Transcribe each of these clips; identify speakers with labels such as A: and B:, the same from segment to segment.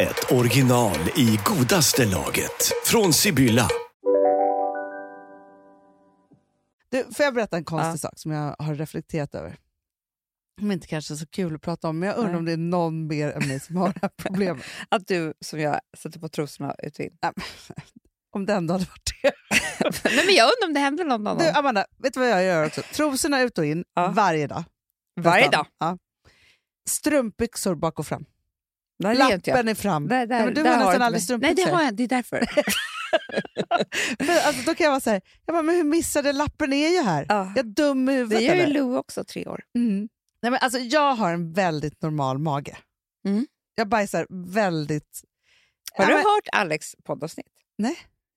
A: ett original i godaste laget. Från Sibylla.
B: Du, får jag berätta en konstig sak som jag har reflekterat över? Som inte kanske är så kul att prata om, men jag undrar
C: Nej.
B: om det är någon mer än mig som har det här problemet.
C: Att du som jag sätter på trosorna utvind.
B: Nej, men, om det ändå hade varit det.
C: Nej, men jag undrar om det händer någon annan.
B: Du, Amanda, vet du vad jag gör också? Trosorna ut och in
C: Ja.
B: varje dag.
C: Varje
B: Nästan.
C: dag.
B: Ja. Strumpbyxor bak och fram.
C: Nej, det gör inte jag.
B: Lappen är fram.
C: Nej, där,
B: Nej, men du
C: där
B: har
C: du
B: nästan
C: inte
B: aldrig
C: mig.
B: strumpbyxor.
C: Nej, det har jag. Det är därför.
B: För, alltså, då kan jag vara så här, jag bara, men hur missade lappen är ju här?
C: Ja.
B: Jag är dum i huvudet
C: Det gör ju
B: eller?
C: Lou också, tre år.
B: Mm. Nej, men alltså, jag har en väldigt normal mage.
C: Mm.
B: Jag bajsar väldigt...
C: Har
B: Ja,
C: du
B: men-
C: hört Alex poddavsnitt?
B: Nej.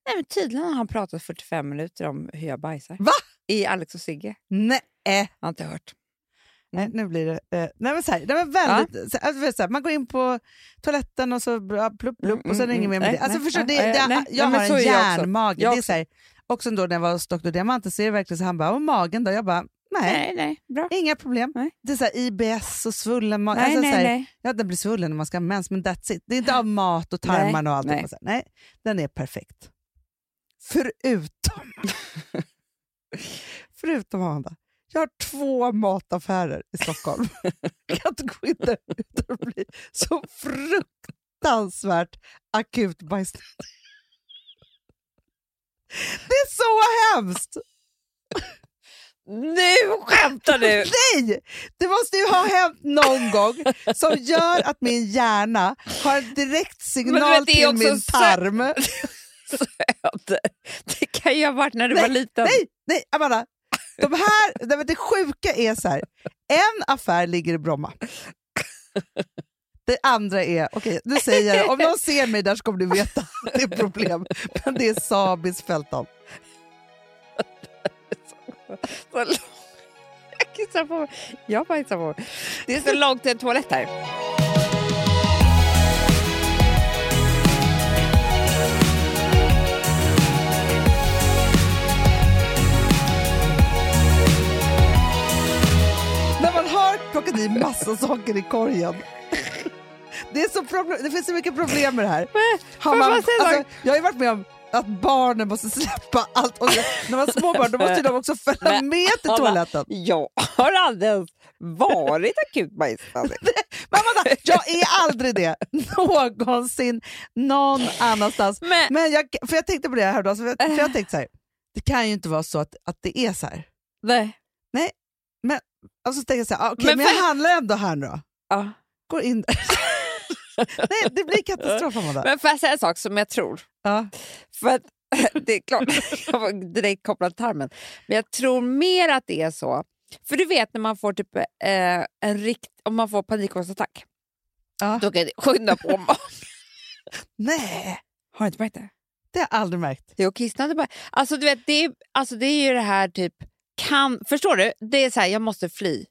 C: Nej, men tydligen har han pratat 45 minuter om hur jag bajsar.
B: Va?
C: I Alex och Sigge.
B: Nej. eh,
C: Jag har inte hört.
B: Nej, nu blir det... Eh, nej, men så här, nej, men väldigt, så, alltså, vet du, så här, man går in på toaletten och så bra, plupp, plupp och sen är det inget mer med
C: Mm, nej,
B: det. Alltså,
C: nej,
B: förstår, du, det,
C: nej, Eh,
B: det,
C: nej, nej,
B: jag
C: men så
B: har
C: är
B: en
C: jag också.
B: järnmage.
C: Jag
B: det är
C: också.
B: så här, också då när jag var hos Dr. Diamante så är det verkligen så han bara, och magen då? Jag bara, nej,
C: Nej, nej. Bra.
B: inga problem.
C: Nej.
B: Det är så här, IBS och svullen mage.
C: Nej,
B: Alltså,
C: nej,
B: så här,
C: nej.
B: Ja, den blir svullen när man ska ha mens, men that's it. Det är inte av mat och tarmarna
C: Nej,
B: och allt.
C: nej.
B: Nej. nej, den är perfekt. Förutom... förutom Amanda. Jag har två mataffärer i Stockholm. jag kan inte gå in där utan att bli så fruktansvärt akut bajsnödig. Det är så hemskt!
C: Nu skämtar du!
B: Nej! Det måste ju ha hänt någon gång som gör att min hjärna har en direkt
C: Men du
B: signal
C: vet, det är
B: till
C: också
B: min
C: sö-
B: tarm.
C: Söder. Det kan ju ha varit när du var liten.
B: Nej, nej Amanda. De här, nej, men det sjuka är så här. En affär ligger i Bromma. Det andra är, okej nu säger jag det. om någon ser mig där så kommer du veta att det är problem. Men det är Sabis fältan.
C: Så lång- Jag kissar på mig. Jag bajsar på mig. Det är så långt till en toalett här.
B: När man har plockat i massa saker i korgen. Det, är så problem, det finns så mycket problem med det här. Har
C: får
B: man,
C: jag bara säga en
B: alltså,
C: sak?
B: jag har ju varit med om att barnen måste släppa allt. Och när man har små barn då måste ju de också följa
C: Men,
B: med till
C: Hanna,
B: toaletten.
C: Jag har aldrig ens varit akut bajsnödig.
B: Men Amanda, jag är aldrig det någonsin någon annanstans.
C: Men-
B: Men jag, för jag tänkte på det här då, alltså, för jag, för jag tänkte så här. Det kan ju inte vara så att, att det är så här.
C: Nej.
B: Men, och så tänkte jag så här, ah, okej,
C: Men
B: men,
C: för-
B: jag handlar ändå här nu då.
C: Ja.
B: Går in där. Nej, det blir katastrof Amanda.
C: Men får jag säga en sak som jag tror?
B: Ja.
C: För att, det är klart, jag var direkt kopplad till tarmen. Men jag tror mer att det är så. För du vet när man får typ eh, en rikt, om man får panikångestattack.
B: Ja.
C: Då kan det skynda på magen.
B: Nej,
C: Har du inte märkt det?
B: det har jag aldrig märkt.
C: Jo, kissnödig bara. Alltså, du vet, det, är, alltså, det är ju det här typ... Kan, förstår du? Det är så här, jag måste fly.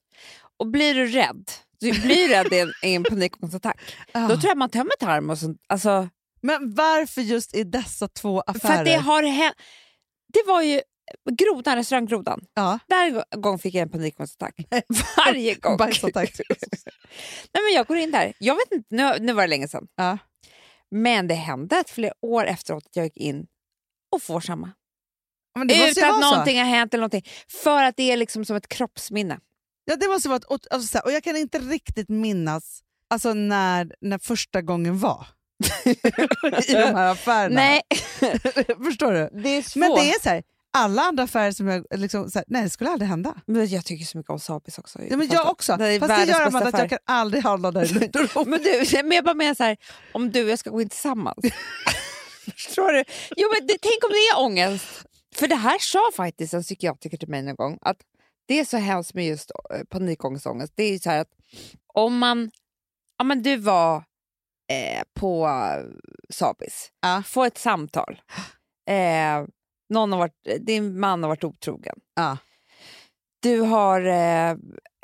C: Och blir du rädd, du blir rädd i en, i en panikångestattack,
B: Ah.
C: då tror jag man tömmer tarm och sånt. Alltså,
B: Men varför just i dessa två
C: för att
B: affärer?
C: det har hänt... Det var ju grodan, restauranggrodan.
B: ja.
C: Där gång fick jag en panikångestattack. Varje gång.
B: Bajsattack.
C: Nej, men jag går in där. Jag vet inte, nu, nu var det länge sedan.
B: Ja.
C: Men det hände att flera år efteråt att jag gick in och får samma.
B: Men det måste ju
C: Utan att
B: vara så.
C: någonting har hänt eller någonting. För att det är liksom som ett kroppsminne.
B: Ja, det måste vara ett, och- alltså, så här, och jag kan inte riktigt minnas alltså, när, när första gången var i de här affärerna.
C: Nej,
B: Förstår du?
C: det är svårt.
B: Men det är så här, alla andra affärer som jag... Liksom, så här, nej, det skulle aldrig hända.
C: Men jag tycker så mycket om Sabis också.
B: Ja, men jag också.
C: Det är
B: Fast det
C: världens
B: gör
C: bästa
B: man att
C: affär.
B: jag kan aldrig handla där i Lund.
C: men, du, men jag bara menar så här, om du och jag ska gå in tillsammans. Förstår du? Jo, men det, tänk om det är ångest. För det här sa faktiskt en psykiatriker till mig någon gång. Att det är så hemskt med just eh, panikångestångest. Det är ju så här att om man... Ja, men du var eh, på sabis.
B: Ja.
C: Få ett samtal. Eh, någon har varit, din man har varit otrogen.
B: Ja.
C: Du har eh,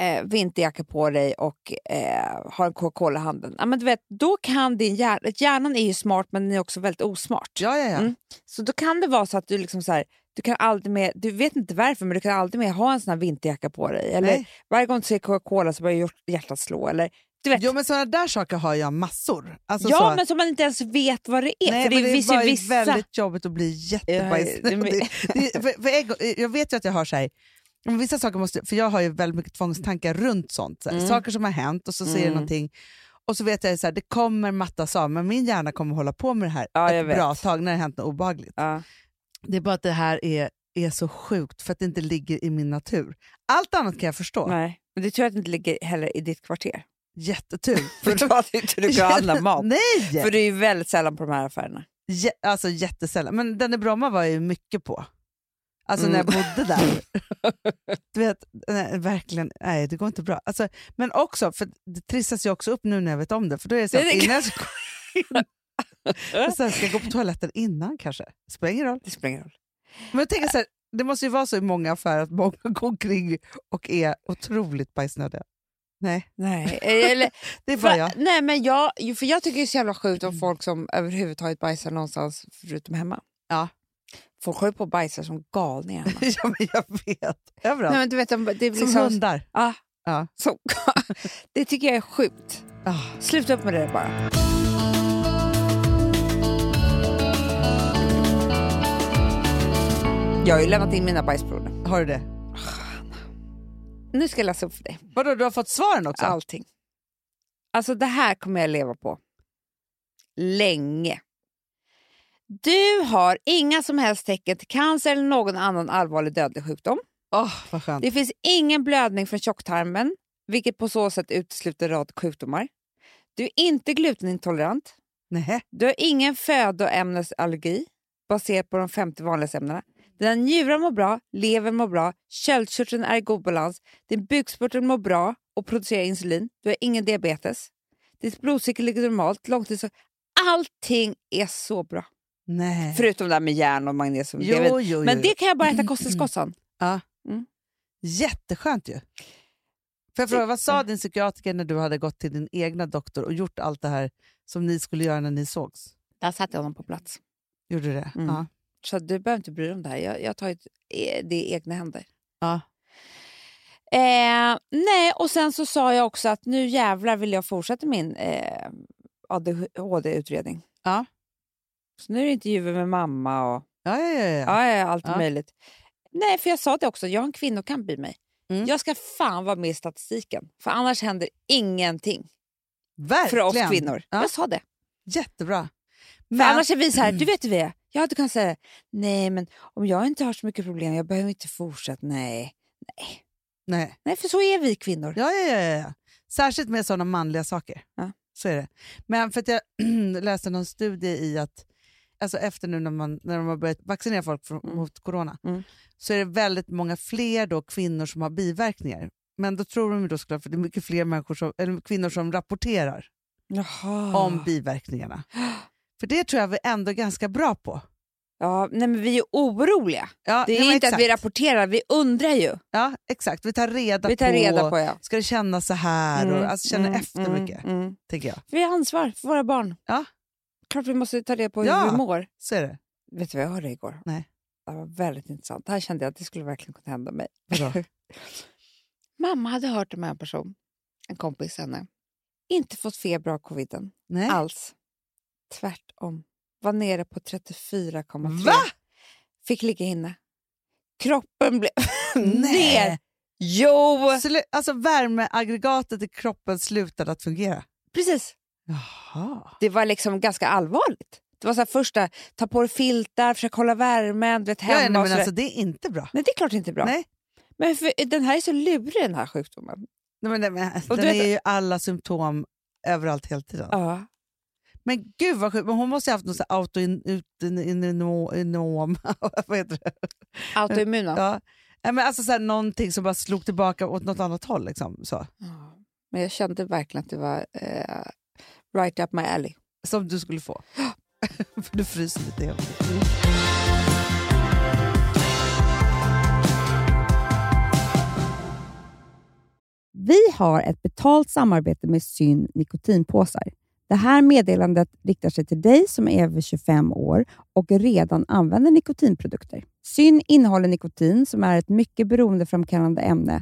C: eh, vinterjacka på dig och eh, har en Coca-Cola i handen. Ja, men du vet, då kan din hjärna, hjärnan är ju smart men den är också väldigt osmart.
B: Ja, ja, ja.
C: Mm. Så då kan det vara så att du liksom så här, du kan aldrig mer, du vet inte varför, men du kan aldrig mer ha en sån här vinterjacka på dig. Eller
B: Nej.
C: varje gång du ser Coca-Cola så börjar hjärt- hjärtat slå. Eller, du vet.
B: Jo, men sådana där saker har jag massor. Alltså,
C: ja,
B: så,
C: men som man inte ens vet vad det är.
B: nej,
C: för det,
B: men
C: finns
B: bara
C: ju vissa...
B: väldigt jobbigt att bli jättebajs.
C: Ja, det- men-
B: det, det, för, för jag, jag vet ju att jag har så här, men vissa saker måste, för jag har ju väldigt mycket tvångstankar runt sånt. Så här, Saker som har hänt och så ser jag
C: Mm.
B: någonting och så vet jag så här, det kommer mattas av, men min hjärna kommer hålla på med det här
C: Ja, jag
B: ett
C: vet.
B: bra tag när det har hänt något obehagligt.
C: Ja.
B: Det är bara att det här är, är så sjukt för att det inte ligger i min natur. Allt annat kan jag förstå.
C: Nej, men det tror jag att det inte ligger heller i ditt kvarter.
B: Jättetur.
C: För då hade inte du kunnat handla mat.
B: Nej!
C: För det är ju väldigt sällan på de här affärerna.
B: Jä- alltså jättesällan. Men den i Bromma var jag ju mycket på. Alltså när jag
C: Mm.
B: bodde där. du vet, nej, verkligen, nej det går inte bra. Alltså, men också, för det trissas ju också upp nu när jag vet om det. För då är det så
C: Det
B: här,
C: är det-
B: innan jag ska gå in, så här, ska jag gå på toaletten innan kanske? Spelar ingen roll.
C: Det spelar ingen roll.
B: Men jag tänker så här, det måste ju vara så i många affärer att många går omkring och är otroligt bajsnödiga. Nej,
C: Nej, eller,
B: det är bara
C: för,
B: jag.
C: nej men jag, ju- för jag tycker det är så jävla sjukt om folk som överhuvudtaget bajsar någonstans förutom hemma.
B: Ja.
C: Folk håller på och bajsar som galningar. hemma.
B: ja, men jag vet. Överallt.
C: nej, men du vet, de- det är
B: Som
C: liksom,
B: hundar.
C: Ja,
B: Ja.
C: som, det tycker jag är sjukt.
B: Ah.
C: Sluta upp med det bara. Jag har ju lämnat in mina bajsprover.
B: Har du det?
C: Nu ska jag läsa upp för dig.
B: Vadå, du har fått svaren också?
C: Allting. Alltså det här kommer jag leva på. Länge. Du har inga som helst tecken till cancer eller någon annan allvarlig dödlig sjukdom.
B: Åh, vad skönt.
C: Det finns ingen blödning från tjocktarmen, vilket på så sätt utesluter en rad sjukdomar. Du är inte glutenintolerant.
B: Nej.
C: Du har ingen födoämnesallergi baserat på de 50 vanligaste ämnena. Dina njurar mår bra, levern mår bra, köldkörteln är i god balans, din bukspottkörtel mår bra och producerar insulin. Du har ingen diabetes. Ditt blodsocker ligger normalt. Långtids... Allting är så bra.
B: Nej.
C: Förutom det där med järn och magnesium. det
B: jo,
C: vet-
B: jo, jo.
C: Men det kan jag bara äta kosttillskott sen.
B: Jätteskönt ju. För jag frågar, vad
C: Mm.
B: sa din psykiatriker när du hade gått till din egna doktor och gjort allt det här som ni skulle göra när ni sågs?
C: Där satte jag honom på plats.
B: Gjorde du det?
C: Mm.
B: Ja.
C: Så du behöver inte bry dig om det här. Jag, jag tar ett, eh, det i egna händer.
B: Ja.
C: Eh, nej, och sen så sa jag också att nu jävlar vill jag fortsätta min eh, ADHD-utredning.
B: Ja.
C: Så nu är det intervjuer med mamma och
B: Ja, ja, ja, ja.
C: ja. Ja, allt
B: Ja.
C: möjligt. Nej, för jag sa det också, jag har en kvinnokamp i mig.
B: Mm.
C: Jag ska fan vara med i statistiken, för annars händer ingenting
B: Verkligen.
C: för oss kvinnor.
B: Ja.
C: Jag sa det.
B: Jättebra.
C: För annars är vi så här, du vet hur vi är. Jag hade kunnat säga, nej men om jag inte har så mycket problem, jag behöver inte fortsätta, nej.
B: Nej.
C: Nej, för så är vi kvinnor.
B: Ja, ja, ja, ja, ja. Särskilt med sådana manliga saker.
C: Ja.
B: Så är det. Men för att jag läste någon studie i att alltså efter nu när, man, när de har börjat vaccinera folk från,
C: Mm.
B: mot corona
C: Mm.
B: så är det väldigt många fler då kvinnor som har biverkningar. Men då tror de ju då såklart, för det är mycket fler människor som, eller kvinnor som rapporterar
C: Jaha.
B: om biverkningarna. För det tror jag vi är ändå ganska bra på.
C: Ja, nej, men vi är oroliga.
B: Ja,
C: Det är
B: nej, men
C: inte att vi
B: exakt.
C: rapporterar, vi undrar ju.
B: Ja, exakt. Vi tar reda,
C: Vi tar reda på, ja.
B: Ska det kännas så här? Och,
C: Mm,
B: alltså känner
C: mm,
B: efter
C: mm,
B: mycket,
C: mm.
B: tänker jag.
C: Vi har ansvar för våra barn.
B: Ja.
C: Klart vi måste ta reda på hur
B: Ja.
C: vi mår.
B: Så är det.
C: Vet du vad jag hörde igår?
B: Nej.
C: Det var väldigt intressant. Det här kände jag att det skulle verkligen kunna hända mig.
B: Vadå?
C: Mamma hade hört om en person, en kompis henne, inte fått feber av coviden
B: Nej.
C: alls. Tvärtom. Var nere på 34,3.
B: Va?
C: Fick ligga inne. Kroppen blev
B: Nej.
C: ner. Jo!
B: Slu- alltså värmeaggregatet i kroppen slutade att fungera.
C: Precis.
B: Jaha.
C: det var liksom ganska allvarligt. Det var så här första, ta på dig filtar, försök hålla värmen, du vet
B: Ja,
C: hemma
B: ja, nej,
C: och
B: men
C: sådär.
B: alltså, det är inte bra.
C: Nej, det är klart inte bra.
B: Nej.
C: Men för, den här är så lurig den här sjukdomen.
B: Nej, men, nej, men, den
C: Och du vet-
B: är ju alla symptom överallt hela tiden.
C: Ja.
B: Men gud vad sjukt, men hon måste ju ha haft något autoinom... vad heter det?
C: Autoimmuna. Ja.
B: Ja. Nej, men alltså, så här, någonting som bara slog tillbaka åt något annat håll. Liksom, så.
C: Men jag kände verkligen att det var eh, right up my alley.
B: Som du skulle få. För du fryser lite helt.
C: Vi har ett betalt samarbete med Syn nikotinpåsar. Det här meddelandet riktar sig till dig som är över 25 år och redan använder nikotinprodukter. Syn innehåller nikotin som är ett mycket beroendeframkallande ämne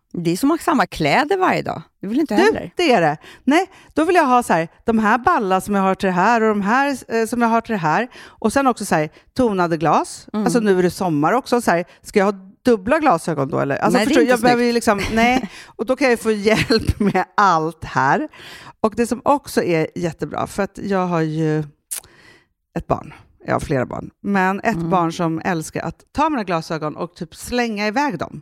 C: Det är som att ha samma kläder varje dag. Det vill inte
B: Du,
C: heller.
B: det är det. Nej, då vill jag ha så här, de här balla som jag har till det här och de här eh, som jag har till det här. Och sen också så här, tonade glas.
C: Mm.
B: Alltså nu är det sommar också. Så här, ska jag ha dubbla glasögon då eller? Alltså,
C: Nej, det är
B: förstår, du,
C: inte
B: jag behöver ju
C: snyggt.
B: liksom, nej. Och då kan jag ju få hjälp med allt här. Och det som också är jättebra, för att jag har ju ett barn. Jag har flera barn. Men ett
C: Mm.
B: barn som älskar att ta mina glasögon och typ slänga iväg dem.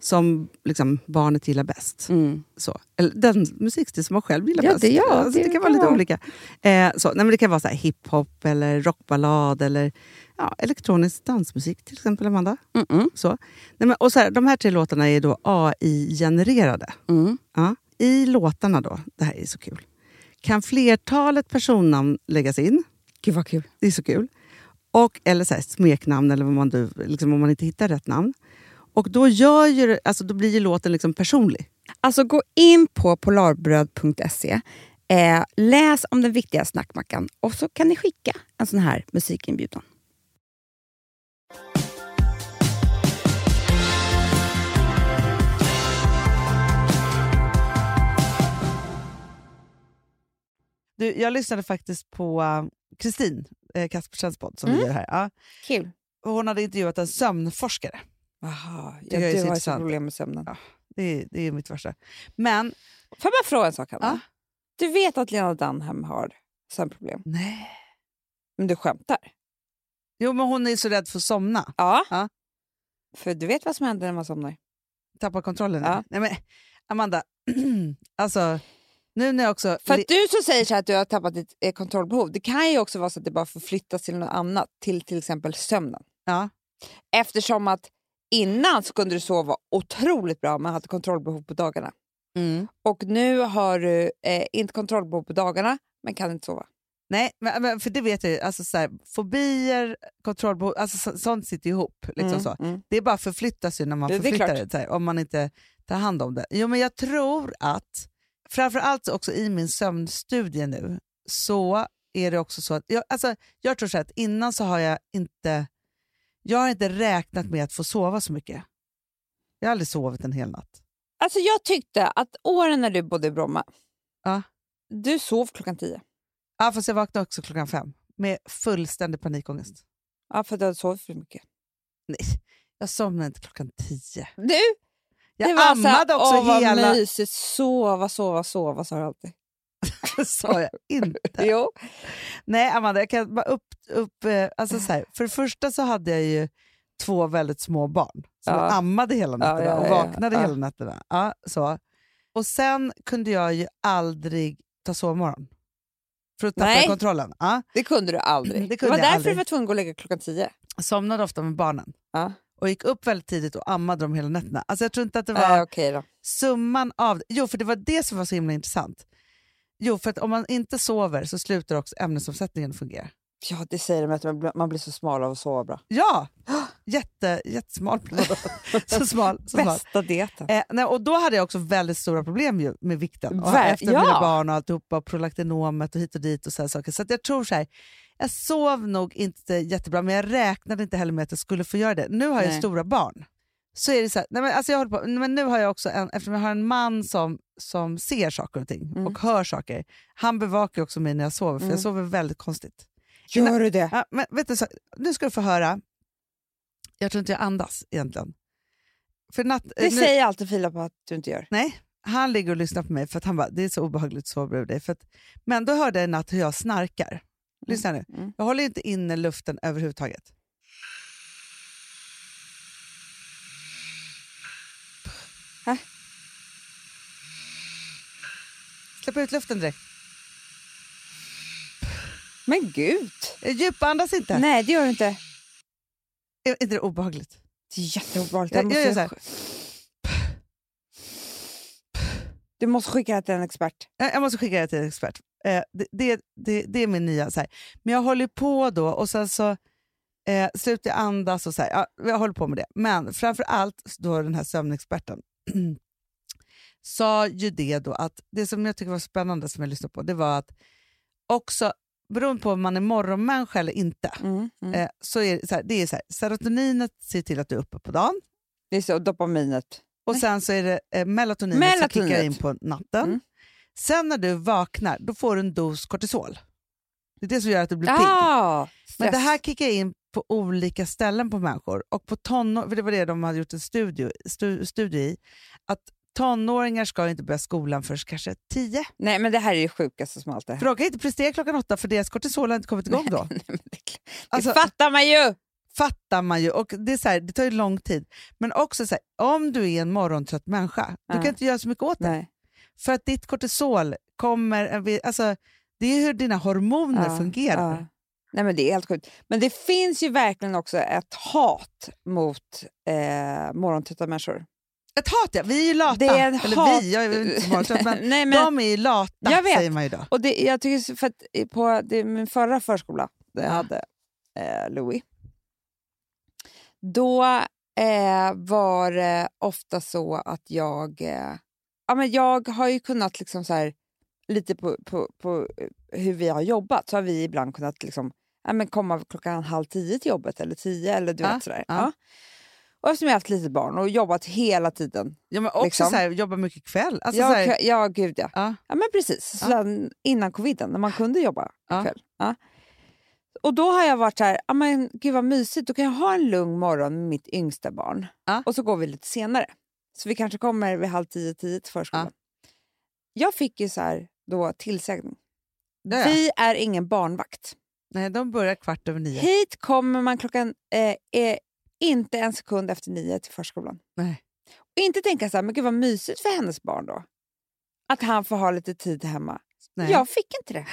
B: som liksom, barnet gillar bäst. Så. Eller den musikstil som man själv gillar
C: Mm. Ja,
B: bäst.
C: det- ja,
B: alltså, det,
C: det
B: kan vara
C: kan
B: lite
C: vara.
B: olika. Eh, så. Nej, men det kan vara så här hiphop, eller rockballad eller ja, elektronisk dansmusik till exempel, Amanda.
C: Mm-mm.
B: Så. Nej, men, och så här, de här tre låtarna är då AI-genererade.
C: Mm.
B: Ja. I låtarna då, det här är så kul, kan flertalet personnamn läggas in.
C: Gud vad kul.
B: Det är så kul. Och, eller så här, smeknamn, eller vad man, du- liksom, om man inte hittar rätt namn. Och då, gör ju, det- alltså, då blir ju låten liksom personlig.
C: Alltså gå in på polarbröd.se, eh, läs om den viktiga snackmackan och så kan ni skicka en sån här musikinbjudan.
B: Du, jag lyssnade faktiskt på Kristin eh, Kaspersens podd som vi gör här. Ja.
C: Mm. Kul.
B: Och Hon hade intervjuat en sömnforskare.
C: Jaha,
B: jag
C: ja,
B: är så
C: du har ju så
B: intressant.
C: problem med sömnen.
B: Ja. Det är, det är mitt värsta. Men,
C: Får jag bara fråga en sak, Hanna?
B: Ja.
C: Du vet att Lena Dunham har sömnproblem,
B: nej.
C: men du skämtar?
B: Jo, men hon är så rädd för att somna.
C: Ja.
B: Ja.
C: För du vet vad som händer när man somnar?
B: Tappa kontrollen.
C: Ja.
B: Nej, men, Amanda, alltså, nu när jag också...
C: För att du som säger så här att du har tappat ditt eh, kontrollbehov, det kan ju också vara så att det bara förflyttas till något annat, till till exempel sömnen.
B: Ja.
C: Eftersom att innan så kunde du sova otroligt bra men hade kontrollbehov på dagarna.
B: Mm.
C: Och nu har du eh, inte kontrollbehov på dagarna men kan inte sova.
B: Nej, men, men, för det vet jag ju. Alltså, så här, fobier, kontrollbehov, alltså, så, sånt sitter ihop. Liksom
C: Mm,
B: så.
C: mm.
B: Det bara förflyttas ju när man
C: Det- det är
B: förflyttar
C: klart.
B: det, så här, om man inte tar hand om det. Jo, men jag tror att, framförallt också i min sömnstudie nu, så är det också så att, jag, alltså, jag tror så här att innan så har jag inte, jag har inte räknat med att få sova så mycket. Jag har aldrig sovit en hel natt.
C: Alltså jag tyckte att åren när du bodde i Bromma,
B: Ja.
C: du sov klockan tio.
B: Ja, fast jag vaknade också klockan fem med fullständig panikångest.
C: Ja, för att du hade sovit för mycket.
B: Nej, jag somnade inte klockan tio.
C: Du,
B: Jag
C: det var så här,
B: ammade också
C: åh, vad
B: hela...
C: mysigt. Sova, sova, sova sa du alltid.
B: sa jag inte.
C: Jo.
B: Nej, Amanda, jag kan bara upp... upp eh, alltså så här, för det första så hade jag ju två väldigt små barn som
C: Ja.
B: jag ammade hela nätterna
C: ja,
B: och
C: ja, ja.
B: vaknade
C: Ja.
B: hela nätterna. Ja, så. Och sen kunde jag ju aldrig ta sovmorgon. För att tappa
C: Nej.
B: kontrollen. Ja.
C: Det kunde du aldrig.
B: Det
C: Det,
B: kunde
C: var
B: jag
C: därför
B: aldrig.
C: du var tvungen att gå och lägga klockan tio.
B: Somnade ofta med barnen.
C: Ja.
B: Och gick upp väldigt tidigt och ammade dem hela nätterna. Alltså jag tror inte att det var...
C: Äh, okej då.
B: summan av... Jo, för det var det som var så himla intressant. Jo, för att om man inte sover så slutar också ämnesomsättningen fungera.
C: Ja, det säger de att man blir- man blir så smal av att sova bra.
B: Ja! Jätte, jättesmal plan. Så smal. Så smal.
C: Bästa dieten.
B: Eh, nej, och då hade jag också väldigt stora problem ju med vikten. Och
C: Ver-
B: efter
C: ja.
B: mina barn och alltihopa, och prolaktinomet och hit och dit. och Så, här saker. så att jag tror så här, jag sov nog inte jättebra men jag räknade inte heller med att jag skulle få göra det. Nu har jag
C: Nej.
B: stora barn. Så är det så här, nej men, alltså jag håller på, nej men nu har jag också en, eftersom jag har en man som, som ser saker och ting
C: Mm.
B: och hör saker. Han bevakar ju också mig när jag sover för jag sover väldigt konstigt.
C: Gör du det?
B: Ja, men vet du, så, nu ska du få höra. Jag tror inte jag andas egentligen. För natt,
C: Det
B: eh, nu,
C: säger alltid Filip att du inte gör.
B: Nej, han ligger och lyssnar på mig för att han bara, det är så obehagligt att sova bredvid dig. För att, men då hörde jag i natt hur jag snarkar. Lyssna nu.
C: mm.
B: Jag håller inte inne luften överhuvudtaget.
C: Hä?
B: Släpp ut luften direkt.
C: Men gud!
B: Eh, Djupandas inte.
C: Nej, det gör du inte.
B: Är inte det obehagligt?
C: Det är jätteobehagligt.
B: Jag-
C: Jag måste-
B: jag gör så här.
C: Du måste skicka det till en expert.
B: Eh, Jag, jag måste skicka det till en expert. Eh, det, det, det, det är min nya. Så här. Men jag håller på då och sen så eh, slutar jag andas och så här. Ja, jag håller på med det. Men framför allt då den här sömnexperten sa ju det då att det som jag tycker var spännande som jag lyssnade på det var att också beroende på om man är morgonmänniska eller inte
C: Mm, mm.
B: eh, så är det så här, det är så här, serotoninet ser till att du är uppe på dagen
C: Det är så, dopaminet.
B: och sen så är det eh, melatoninet, som kickar in
C: Melatoninet.
B: på natten.
C: Mm.
B: Sen när du vaknar, då får du en dos kortisol. Det är det som gör att du blir pigg.
C: Ah,
B: Men det
C: stress.
B: här kickar in på olika ställen på människor. Och på tonår, för det var det de hade gjort en studie, stu, studie i. Att tonåringar ska inte börja skolan förrän kanske tio.
C: Nej, men det här är det sjukaste som allt det här.
B: För de kan inte prestera klockan åtta för deras kortisol har inte kommit igång då.
C: Nej, men det, är klart.
B: Alltså-
C: det fattar man ju!
B: fattar man ju. Och det, är så här, det tar ju lång tid. Men också så här, om du är en morgontrött människa, du
C: Ja.
B: kan inte göra så mycket åt det.
C: Nej.
B: För att ditt kortisol kommer... Alltså, det är hur dina hormoner
C: Ja,
B: fungerar.
C: ja. Nej, men det är helt sjukt. Men det finns ju verkligen också ett hat mot eh, morgontrötta människor.
B: Ett hat ja, vi är ju lata.
C: Det är en
B: Eller
C: hat-
B: vi, jag är väl inte så morgontrött, men
C: Nej, men,
B: de är ju lata
C: Jag vet.
B: säger man ju då.
C: och det, jag tycker så- för att i- på det, min förra förskola, där jag hade eh, Louis, då eh, var det ofta så att jag... Eh, ja, men jag har ju kunnat liksom så här, lite på, på, på eh, hur vi har jobbat, så har vi ibland kunnat liksom, ja, men komma klockan halv tio till jobbet eller tio eller du
B: Ja,
C: vet sådär.
B: ja.
C: Ja. Och eftersom jag har haft litet barn och jobbat hela tiden.
B: Ja, men också
C: Liksom.
B: så här, jobbar mycket kväll. Alltså, så
C: ja,
B: här,
C: kö- ja, gud ja.
B: Ja.
C: Ja, men precis.
B: Ja.
C: Sen innan coviden, när man kunde jobba
B: Ja.
C: kväll. Ja. Och då har jag varit så här, "Ah, men gud vad mysigt, då kan jag ha en lugn morgon med mitt yngsta barn.
B: Ja.
C: Och så går vi lite senare. Så vi kanske kommer vid halv tio, tio till förskolan. Jag fick ju så här då tillsägning.
B: Det är jag.
C: Vi är ingen barnvakt.
B: Nej, de börjar kvart över nio.
C: Hit kommer man klockan eh, eh, inte en sekund efter nio till förskolan.
B: Nej.
C: Och inte tänka så här, men gud vad mysigt för hennes barn då. Att han får ha lite tid hemma.
B: Nej.
C: Jag fick inte det.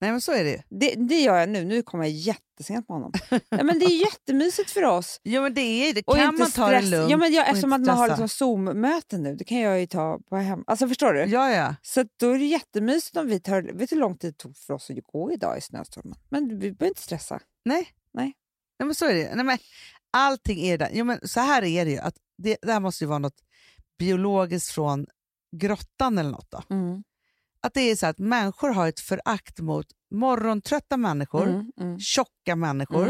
B: Nej, men så är det ju.
C: det. Det gör jag nu. Nu kommer jag jättesent på honom. Nej, men det är jättemysigt för oss.
B: Jo, men det är ju det.
C: Och
B: Kan
C: inte
B: man ta det
C: stress-
B: lugnt?
C: Ja, men jag,
B: och
C: eftersom att
B: inte
C: man har
B: stressa?
C: liksom Zoom-möten nu, det kan jag ju ta på hem. Alltså förstår du?
B: Ja, ja.
C: Så att då är det jättemysigt om vi tar... Vet du hur lång tid det tog för oss att gå idag i snöstormen? Men vi behöver inte stressa.
B: Nej.
C: Nej.
B: Nej, men så är det ju. Nej, men Allting är där. Jo, men så här är det ju. Att det, det här måste ju vara något biologiskt från grottan eller något. Då.
C: Mm,
B: Att det är så här att människor har ett förakt mot morgontrötta människor,
C: Mm, mm.
B: tjocka människor.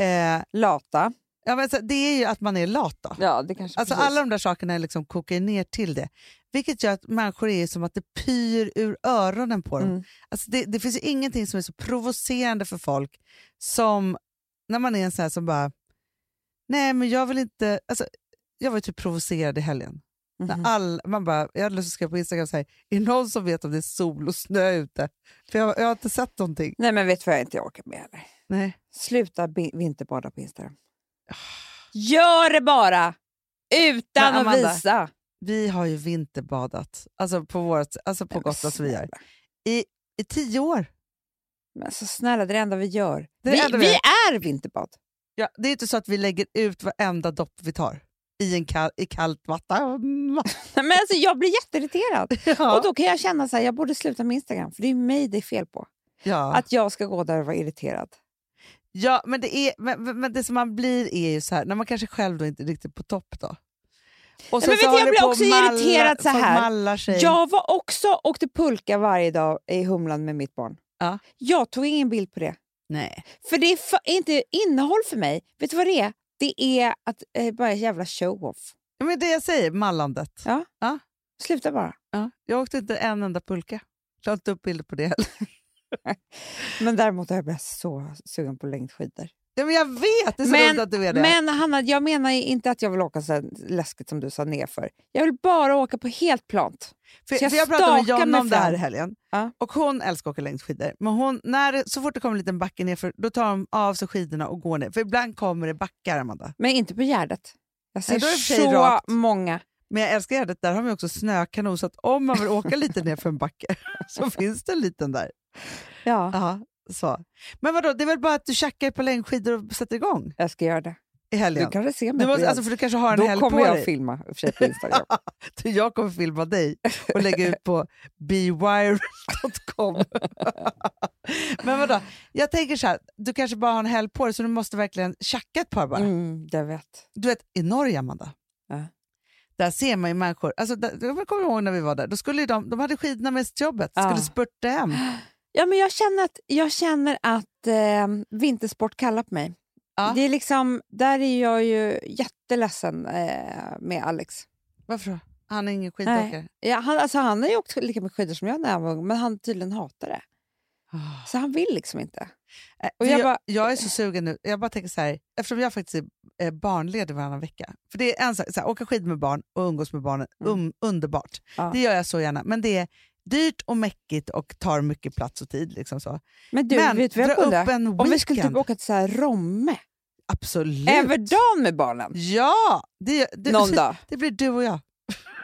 B: Eh,
C: Lata.
B: ja, men så, det är ju att man är lat. Då.
C: Ja, det kanske
B: Alltså alla de där sakerna är liksom kokar ner till det. Vilket gör att människor är som att det pyr ur öronen på dem.
C: Mm.
B: Alltså det, det finns ju ingenting som är så provocerande för folk som när man är en sån här som bara, nej men jag vill inte, alltså, jag var ju typ provocerad i helgen.
C: Mhm.
B: När all, man bara, jag hade lust att skriva på Instagram så här, är det någon som vet om det är sol och snö ute? För jag, jag har inte sett någonting.
C: Nej, men vet du vad jag inte orkar med heller?
B: Nej.
C: Sluta bi- vinterbada på Instagram.
B: Ah.
C: Gör det bara! Utan
B: Men
C: att
B: Amanda,
C: visa.
B: Vi har ju vinterbadat, alltså på, vårt, alltså på
C: Men
B: Gotland som vi gör,
C: snälla.
B: i tio år.
C: Men så snälla, det är det enda vi gör.
B: Det är det
C: vi,
B: enda vi
C: vi är
B: gör.
C: vinterbad.
B: Ja, det är inte så att vi lägger ut varenda dopp vi tar i, en kall, i kallt vatten.
C: Men alltså, jag blir jätteirriterad.
B: Ja.
C: Och då kan jag känna så här, jag borde sluta med Instagram. För det är mig det är fel på.
B: ja.
C: Att jag ska gå där och vara irriterad.
B: ja, men, det är, men, men- men det som man blir är ju så här, när man kanske själv då inte är riktigt på topp då. Och
C: men vet du, jag
B: håller
C: blir
B: på och
C: också
B: mallar-
C: irriterad så
B: folk
C: här.
B: mallar sig.
C: Jag var också åkte pulka varje dag i Humlan med mitt barn.
B: Ja.
C: Jag tog ingen bild på det.
B: Nej.
C: För det är fa- inte innehåll för mig. Vet du vad det är? Det är att eh, bara jävla show-off.
B: Ja, Men det jag säger, mallandet.
C: Ja. Sluta bara.
B: Ja. Jag åkte inte en enda pulka. Jag har inte upp bilder på det heller.
C: Men däremot har jag blivit så sugen på längdskidor.
B: Ja, men jag vet, det är så
C: Men-
B: roligt att du är det.
C: Men Hanna, jag menar ju inte att jag vill åka så här läskigt som du sa nerför. Jag vill bara åka på helt plant.
B: För,
C: Så jag
B: för jag pratade med
C: stakar
B: Jonna
C: mig
B: om det här
C: fram.
B: i helgen.
C: Ja.
B: Och hon älskar att åka längdskidor. Men hon, när, det- så fort det kommer en liten backe nerför, då tar de av sig skidorna och går ner. För ibland kommer det backar, Amanda.
C: Men inte på Gärdet. Jag ser
B: Nej, då är det i och för sig
C: så
B: rakt.
C: många.
B: Men jag älskar Gärdet, där har vi också snökanon. Så att om man vill åka lite nerför en backe så finns det en liten där.
C: Ja,
B: Ja, så. Men vadå, det är väl bara att du tjackar på längdskidor och sätter igång
C: jag ska göra det.
B: i
C: Du
B: helgen?
C: kanske ser mig
B: Du
C: på
B: måste,
C: Gärdet.
B: alltså, för du kanske har en
C: Då
B: helg på
C: kommer jag
B: dig.
C: att filma i och för sig på Instagram.
B: jag kommer filma dig och lägga ut på bewired.com. Men vadå, jag tänker så här, du kanske bara har en helg på dig så du måste verkligen tjacka ett par bara.
C: mm, jag vet.
B: Du vet, i Norge Amanda,
C: Ja.
B: där ser man ju människor, alltså, där, jag kommer ihåg när vi var där, då skulle ju de, de hade skidorna med sig till jobbet,
C: Ja.
B: skulle spurta hem.
C: Ja, men jag känner att, jag känner att eh, vintersport kallar på mig.
B: Ja.
C: Det är liksom, där är jag ju jätteledsen eh, med Alex.
B: Varför då? Han är ingen skidåkare.
C: Ja, han, alltså, han har ju åkt lika mycket skidor som jag när han var ung, men han tydligen hatar det.
B: Ah.
C: Så han vill liksom inte.
B: Äh,
C: Och
B: för
C: jag
B: jag,
C: bara-
B: jag är så sugen nu. Jag bara tänker så här, eftersom jag faktiskt är eh, barnledig varannan vecka. För det är en sak, så här, åka skid med barn och umgås med barnen,
C: Mm.
B: um, underbart.
C: Ja.
B: Det gör jag så gärna. Men det är dyrt och mäckigt och tar mycket plats och tid. Liksom så.
C: Men du,
B: Men
C: vet du vad jag
B: dra
C: undrar?
B: upp en
C: Om vi skulle typ
B: weekend.
C: åka till så här Romme,
B: Absolut.
C: över dagen med barnen,
B: Ja! Det, gör- du,
C: någon dag.
B: det blir du och jag.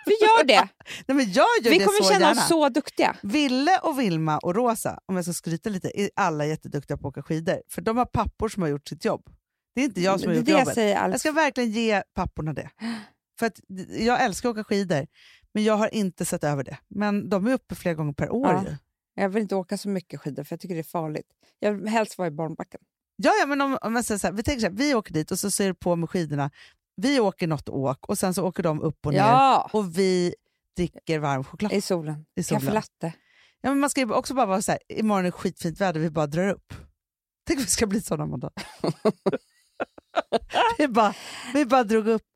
C: Vi gör det.
B: Nej, men jag gör
C: Vi
B: det
C: kommer
B: så
C: känna
B: gärna.
C: oss så duktiga.
B: Ville och Vilma och Rosa, om jag ska skryta lite, är alla jätteduktiga på att åka skidor. För de har pappor som har gjort sitt jobb. Det är inte jag som har
C: det är
B: gjort
C: Mm, det jag
B: jobbet.
C: säger
B: Jag
C: Alex.
B: ska verkligen ge papporna det. För att d- jag älskar att åka skidor, men jag har inte sett över det. Men de är uppe flera gånger per år.
C: Ja.
B: ju.
C: Jag vill inte åka så mycket skidor för jag tycker det är farligt. Jag vill helst vara i barnbacken.
B: Ja, ja, men om, om jag säger så här, vi tänker så här, vi åker dit och så ser du på med skidorna. Vi åker något åk och sen så åker de upp och ner
C: Ja,
B: och vi dricker varm choklad.
C: i solen.
B: I solen.
C: Kaffe latte.
B: Ja, men man ska ju också bara vara så här, imorgon är skitfint väder, vi bara drar upp. Tänk om vi ska bli sådana Amanda. vi, bara, vi bara drog upp.